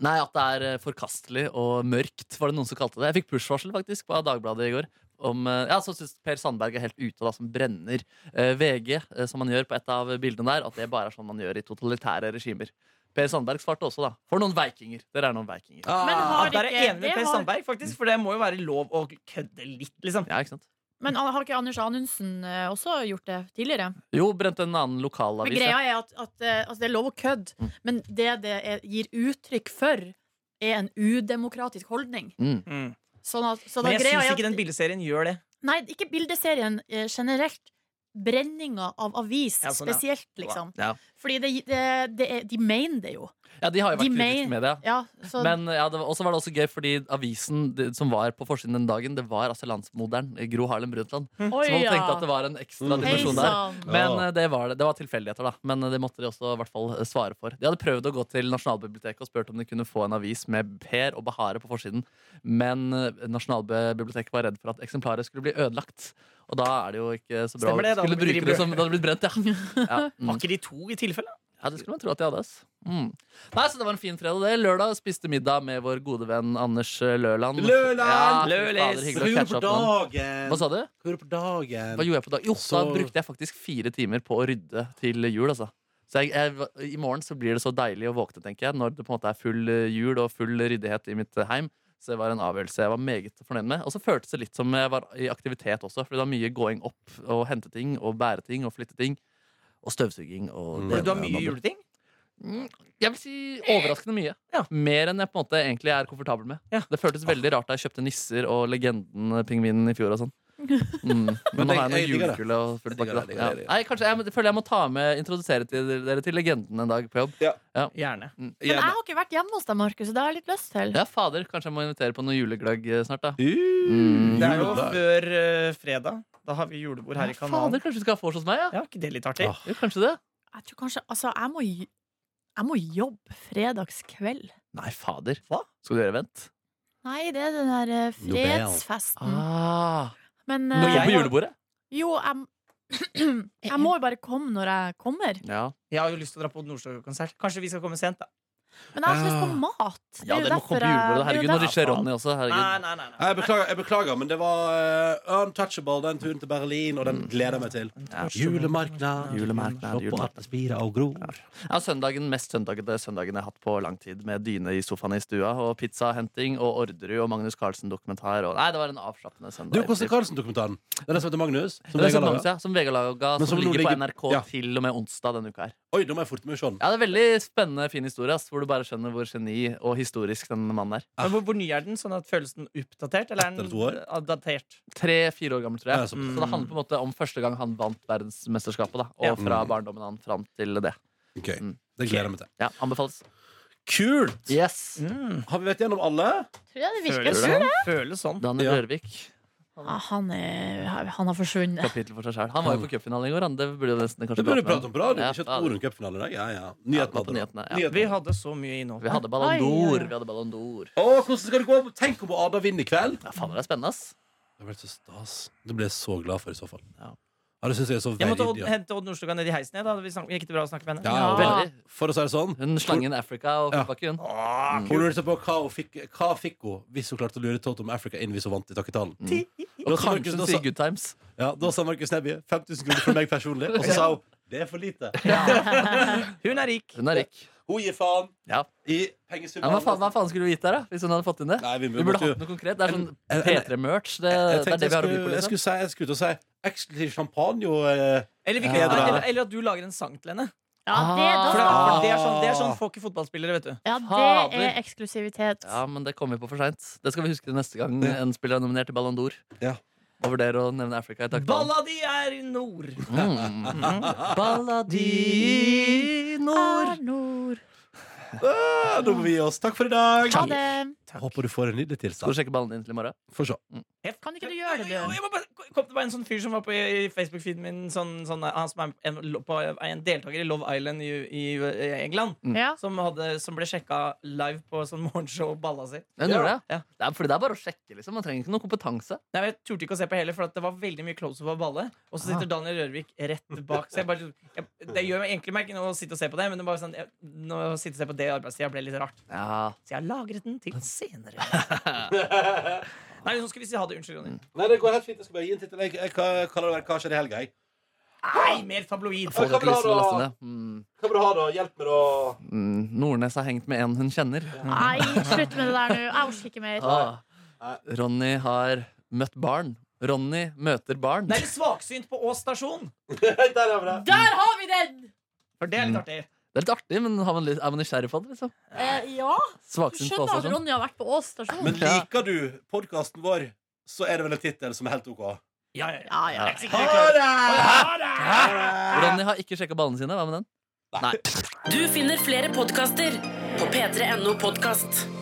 Speaker 3: Nei, at det er eh, forkastelig og mørkt, var det noen som kalte det. Jeg fikk push-varsel faktisk på Dagbladet i går. Om, eh, ja, så syns Per Sandberg er helt ute, da, som brenner eh, VG, eh, som han gjør på et av bildene der, at det bare er sånn man gjør i totalitære regimer. Per Sandberg svarte også, da. For noen vikinger. Dere er noen vikinger.
Speaker 4: Men
Speaker 5: Ah, At
Speaker 4: har
Speaker 5: der er jeg
Speaker 4: ikke, det
Speaker 5: enig med Per
Speaker 4: har,
Speaker 5: Sandberg, faktisk, for det må jo være lov å kødde litt, liksom.
Speaker 3: Ja, ikke sant?
Speaker 4: men har ikke Anders Anundsen eh, også gjort det tidligere?
Speaker 3: Jo, brente en annen
Speaker 4: Men
Speaker 3: lokalavis.
Speaker 4: greia
Speaker 3: ja.
Speaker 4: er at, at eh, altså det er lov å kødde,
Speaker 3: Mm.
Speaker 4: men det det er, gir uttrykk for, er en udemokratisk holdning.
Speaker 3: Mm.
Speaker 5: Mm.
Speaker 4: Sånn at, så da
Speaker 5: Men jeg
Speaker 4: greia
Speaker 5: syns
Speaker 4: er
Speaker 5: ikke
Speaker 4: at-
Speaker 5: den bildeserien gjør det.
Speaker 4: Nei, ikke bildeserien eh, generelt. brenninga av avis
Speaker 5: Ja, sånn, ja.
Speaker 4: spesielt, liksom.
Speaker 3: Ja.
Speaker 4: Fordi det, det, det er, de mener det jo.
Speaker 3: Ja, de har jo
Speaker 4: De
Speaker 3: vært
Speaker 4: mail-
Speaker 3: kritiske med det. ja.
Speaker 4: Ja, så
Speaker 3: Men ja, det var, også var det også gøy, fordi avisen det, som var på forsiden den dagen, det var altså landsmoderen eh, Gro Harlem Brundtland.
Speaker 4: Oi,
Speaker 3: Så man
Speaker 4: ja.
Speaker 3: tenkte at det var en ekstra
Speaker 2: Mm.
Speaker 4: Hei
Speaker 3: dimensjon der.
Speaker 4: sann!
Speaker 3: Men
Speaker 2: Ja.
Speaker 3: eh, det var, det. Det var tilfeldigheter, da. Men eh, det måtte de også i hvert fall eh, svare for. De hadde prøvd å gå til Nasjonalbiblioteket og spurt om de kunne få en avis med Per og Bahare på forsiden, men eh, Nasjonalbiblioteket var redd for at eksemplaret skulle bli ødelagt. Og da er det jo ikke så bra.
Speaker 5: Stemmer det, da
Speaker 3: skulle
Speaker 5: blir de
Speaker 3: bruke det som det hadde blitt brent,
Speaker 5: [laughs]
Speaker 3: ja. ja. Mm.
Speaker 5: Var ikke de to i tilfelle?
Speaker 3: Ja, det skulle man tro at de hadde. ass. Mm. Nei, så Det var en fin fredag. det Lørdag spiste middag med vår gode venn Anders eh, Løland.
Speaker 2: Løland!
Speaker 3: Ja, fy
Speaker 5: Lølis!
Speaker 3: fader,
Speaker 2: Men Hva
Speaker 3: hyggelig å
Speaker 2: gjorde du
Speaker 3: catche
Speaker 2: på
Speaker 3: opp med han.
Speaker 2: dagen?
Speaker 3: Hva sa du?
Speaker 2: Hva gjorde du på dagen?
Speaker 3: Hva gjorde jeg på dag? Jo,
Speaker 2: Så-
Speaker 3: Da brukte jeg faktisk fire timer på å rydde til jul. altså så jeg, jeg, I morgen så blir det så deilig å våkne, tenker jeg, når det på en måte er full eh, jul og full ryddighet i mitt eh, heim. Så det var en avgjørelse jeg var meget fornøyd med. Og så føltes det litt som jeg var i aktivitet også, for det var mye gåing opp og hente ting og bære ting og flytte ting. Og støvsuging og
Speaker 2: Mm.
Speaker 3: det ene
Speaker 5: Du har
Speaker 3: og det
Speaker 5: mye
Speaker 3: andre.
Speaker 5: juleting?
Speaker 3: Mm, Jeg vil si overraskende mye.
Speaker 5: Ja.
Speaker 3: Mer enn jeg på en måte egentlig er komfortabel med.
Speaker 5: Ja.
Speaker 3: Det føltes veldig rart da jeg kjøpte nisser og legenden eh, Pingvinen i fjor.
Speaker 5: [laughs]
Speaker 3: og sånn mm. Men nå
Speaker 2: det-
Speaker 3: har jeg
Speaker 2: jeg digger
Speaker 3: noe
Speaker 2: det.
Speaker 3: julekule og fullt
Speaker 2: Jeg digger
Speaker 3: pakke.
Speaker 2: det, jeg digger det,
Speaker 3: da.
Speaker 2: jeg digger
Speaker 3: Ja. Nei, kanskje jeg, jeg føler jeg må ta med introdusere til, dere til legenden en dag på jobb.
Speaker 5: Gjerne.
Speaker 4: Men jeg
Speaker 2: Gjerne.
Speaker 4: har ikke vært hjemme hos deg, Markus, så det har jeg litt lyst til.
Speaker 3: Ja, fader, kanskje jeg må invitere på noe julegløgg eh, snart, da.
Speaker 2: Uh,
Speaker 3: Mm.
Speaker 5: Det er jo
Speaker 2: juledag.
Speaker 5: før eh, fredag. Da har vi julebord her i kanalen.
Speaker 3: fader, kanskje du skal ha vors hos meg? Ja.
Speaker 5: Ja, ikke det litt artig?
Speaker 2: Ah.
Speaker 3: Jo, kanskje det?
Speaker 4: Jeg tror kanskje Altså, jeg må, j- jeg må jobbe fredagskveld.
Speaker 3: Nei, fader. Hva? Skal du gjøre event?
Speaker 4: Nei, det er den der eh,
Speaker 2: Nobel.
Speaker 4: fredsfesten.
Speaker 3: Ah,
Speaker 4: Men
Speaker 3: må
Speaker 4: eh,
Speaker 3: komme på
Speaker 5: jeg-
Speaker 3: julebordet?
Speaker 4: jo, jeg [clears throat] Jeg må jo bare komme når jeg kommer.
Speaker 3: Ja.
Speaker 5: Jeg har jo lyst til å dra på Nordstoga-konsert. Kanskje vi skal komme sent, da.
Speaker 4: Men jeg har så lyst på mat. Det
Speaker 3: Ah. ja,
Speaker 4: er
Speaker 3: dere
Speaker 4: jo
Speaker 3: må
Speaker 4: derfor
Speaker 3: komme på julebordet.
Speaker 4: jeg- det er jo
Speaker 3: Herregud, når de
Speaker 4: derfor-
Speaker 3: ser Ronny også.
Speaker 5: Nei,
Speaker 3: Herregud.
Speaker 5: nei, nei. nei.
Speaker 2: Jeg beklager, jeg beklager, men det var eh, untouchable, den turen til Berlin, og den gleder jeg meg til. Julemarknad.
Speaker 3: Mm. Julemarknad,
Speaker 2: Se på
Speaker 3: julemarknad.
Speaker 2: at det spirer og gror.
Speaker 3: Ja, søndagen, Mest søndagete søndagen jeg har hatt på lang tid, med dyne i sofaen i stua og pizzahenting og Orderud og Magnus Carlsen-dokumentar. Og... Nei, det var en avslappende søndag.
Speaker 2: Du, Kåsse Karlsen-dokumentaren. Det er den som heter Magnus. Som jeg
Speaker 3: Det er
Speaker 2: har
Speaker 3: som
Speaker 2: laget.
Speaker 3: Magnus, ja, som Vegard laga,
Speaker 2: Men
Speaker 3: som,
Speaker 2: som nå
Speaker 3: ligger på
Speaker 2: ligger-
Speaker 3: NRK
Speaker 2: ja.
Speaker 3: til og med onsdag denne uka her.
Speaker 2: Oi, nå må jeg forte meg å se den.
Speaker 3: Ja, Det er veldig spennende, fin historie, ass, hvor du bare skjønner hvor geni og historisk den mannen er.
Speaker 5: Men hvor, hvor ny er den? Sånn at føles den oppdatert, eller er
Speaker 2: Etter to år.
Speaker 5: den eh, datert?
Speaker 3: Tre-fire år gammel, tror
Speaker 2: Ja,
Speaker 3: jeg.
Speaker 2: såpass.
Speaker 3: Så det handler på en måte om første gang han vant verdensmesterskapet, da.
Speaker 5: Ja.
Speaker 3: Og fra
Speaker 2: Mm.
Speaker 3: barndommen han fram til det.
Speaker 2: Ok,
Speaker 3: Mm.
Speaker 2: Det gleder jeg meg til.
Speaker 3: Ja, Anbefales.
Speaker 2: Kult!
Speaker 3: Yes!
Speaker 5: Mm.
Speaker 2: Har vi vært gjennom alle?
Speaker 4: Tror jeg det virker
Speaker 5: Føles
Speaker 4: sånn.
Speaker 5: sånn. Føles sånn.
Speaker 3: Daniel
Speaker 2: Ja.
Speaker 3: Rørvik.
Speaker 4: Ja, han, er, han har forsvunnet.
Speaker 3: Kapittel for seg selv. Han var jo på cupfinalen i går, han. Det burde jo nesten kanskje
Speaker 2: Det burde vi
Speaker 3: prate med
Speaker 2: prate om på radio.
Speaker 3: Ja,
Speaker 2: Ikke et
Speaker 3: fader.
Speaker 2: ord om cupfinalen i dag. Ja, ja.
Speaker 3: Ja, på
Speaker 2: Nyhetene.
Speaker 3: nyhetene, ja.
Speaker 5: Vi hadde så mye innhold.
Speaker 3: Vi hadde
Speaker 4: Oi,
Speaker 3: Ballon
Speaker 4: oi,
Speaker 3: d'Or.
Speaker 4: oi.
Speaker 3: Vi hadde Ballon d'Or.
Speaker 2: Å, hvordan skal det gå? Tenk om Ada vinner i kveld!
Speaker 3: Ja, faen, det er spennende, ass.
Speaker 2: Det ble så stas. Det ble jeg så glad for, i så fall. Ja,
Speaker 3: Ja.
Speaker 2: det synes jeg er så
Speaker 5: Jeg måtte
Speaker 2: veldig
Speaker 5: Odd- hente Odd Nordstoga ned i heisen. igjen, Da hadde vi snak- gikk det bra å snakke med henne.
Speaker 2: ja,
Speaker 3: Ja.
Speaker 2: veldig. For å si det sånn.
Speaker 3: Hun slangen Africa og
Speaker 2: Ja.
Speaker 3: fotbakken.
Speaker 5: Åh,
Speaker 2: Hun lurte på hva hun fikk, hva fikk hun hvis hun klarte å lure Totem Africa inn hvis hun vant i takketalen.
Speaker 3: Mm. Og kanskje hun sier good times.
Speaker 2: Ja, da sa Markus Neby 5000 kroner for meg personlig. Og så sa hun det er for lite.
Speaker 5: Hun er rik.
Speaker 3: Hun er rik.
Speaker 2: Hun gir faen
Speaker 3: Ja.
Speaker 2: i
Speaker 3: Ja, hva, faen,
Speaker 2: pengesummen.
Speaker 3: hva faen skulle du gitt der, da? Hvis hun hadde fått inn det?
Speaker 2: Nei, vi
Speaker 3: Vi
Speaker 2: måtte
Speaker 3: burde
Speaker 2: jo
Speaker 3: hatt noe konkret. Det er sånn
Speaker 2: En- en-
Speaker 3: P3-merch. Det,
Speaker 2: Jeg
Speaker 3: det er
Speaker 2: tenkte
Speaker 3: det
Speaker 2: jeg
Speaker 3: vi har å by på.
Speaker 2: skulle, jeg
Speaker 3: Liksom.
Speaker 2: skulle, si, jeg skulle til å si eksklusiv champagne jo eh,
Speaker 5: Eller, vi,
Speaker 3: Ja.
Speaker 5: eller, eller, at du lager en sang til henne.
Speaker 4: Ja,
Speaker 3: Ah.
Speaker 4: det,
Speaker 5: For det,
Speaker 4: da,
Speaker 5: er- for det, er, sånn, det er sånn får ikke fotballspillere, vet du.
Speaker 4: ja,
Speaker 3: Fader.
Speaker 4: det er eksklusivitet.
Speaker 3: Ja, men det kommer vi på for seint. Det skal vi huske til neste gang en spiller er nominert til Ballon d'Or.
Speaker 2: Ja.
Speaker 3: Og vurdere å nevne Africa i takketalen.
Speaker 5: Balla di er i nord!
Speaker 3: Mm. Balladinor.
Speaker 4: Arnor.
Speaker 2: ah, Nå må vi gi oss. Takk for i dag.
Speaker 4: Ha det.
Speaker 2: Håper du får en nydelig
Speaker 3: Skal du
Speaker 2: tilstand.
Speaker 3: sjekke ballen din til i morgen?
Speaker 2: Få se.
Speaker 4: Kan ikke du gjøre det, Bjørn?
Speaker 5: Jeg må bare, kom, det var en sånn fyr som var på i Facebook-feeden min, sånn, sånn, han som er en, på, en deltaker i Love Island i, i, i England.
Speaker 3: Mm.
Speaker 4: Ja.
Speaker 5: Som, hadde, som ble sjekka live på sånn morgenshow balla si.
Speaker 3: Ja, den gjorde det,
Speaker 5: Ja.
Speaker 3: Det er, fordi det er bare å sjekke, liksom. Man trenger ikke noe kompetanse.
Speaker 5: Nei, men Jeg turte ikke å se på hele, for at det var veldig mye close-up av balle. Og så sitter Daniel Rørvik rett bak. Så jeg bare, sånn, jeg, det gjør meg egentlig meg ikke noe å sitte og se på det, men det var sånn, jeg, nå, å sitte og se på det i arbeidstida ble litt rart.
Speaker 3: Ja.
Speaker 5: Så jeg har lagret den til senere. [laughs] Nei, nå skal vi si ha det. Unnskyld, Ronny.
Speaker 2: Nei, det går helt fint. Jeg skal bare gi en tittel. Jeg, jeg, jeg kaller det vel Hva skjer i helga? jeg.
Speaker 5: Nei, mer tabloid!
Speaker 3: Folk har ikke lyst til å laste ned. Mm.
Speaker 2: Hva bra, da. Hjelp meg, da.
Speaker 3: Mm. Nordnes har hengt med en hun kjenner.
Speaker 4: Nei, slutt med det der nå. Jeg orker ikke mer.
Speaker 3: Mm. Ah. Ronny har møtt barn. Ronny møter barn.
Speaker 5: Nei, svaksynt på Ås stasjon!
Speaker 2: Der har vi det.
Speaker 4: Der har vi den!
Speaker 5: For det er litt artig.
Speaker 3: Det er litt artig, men har man litt, er man nysgjerrig på det? liksom? sånn.
Speaker 4: Eh, ja, du
Speaker 3: Svaksynt
Speaker 4: skjønner at
Speaker 3: påstand.
Speaker 4: Ronny har vært på Ås stasjon.
Speaker 2: Men liker du podkasten vår, så er det vel en tittel som er helt OK.
Speaker 5: Ja, ja, ja.
Speaker 4: Ja, ja.
Speaker 5: Jeg er sikker
Speaker 2: Ha
Speaker 5: jeg klarer-
Speaker 2: det!
Speaker 5: Ha det!
Speaker 3: Ronny har ikke sjekka ballene sine. Hva med den? Nei.
Speaker 6: Du finner flere podkaster på p3.no podkast.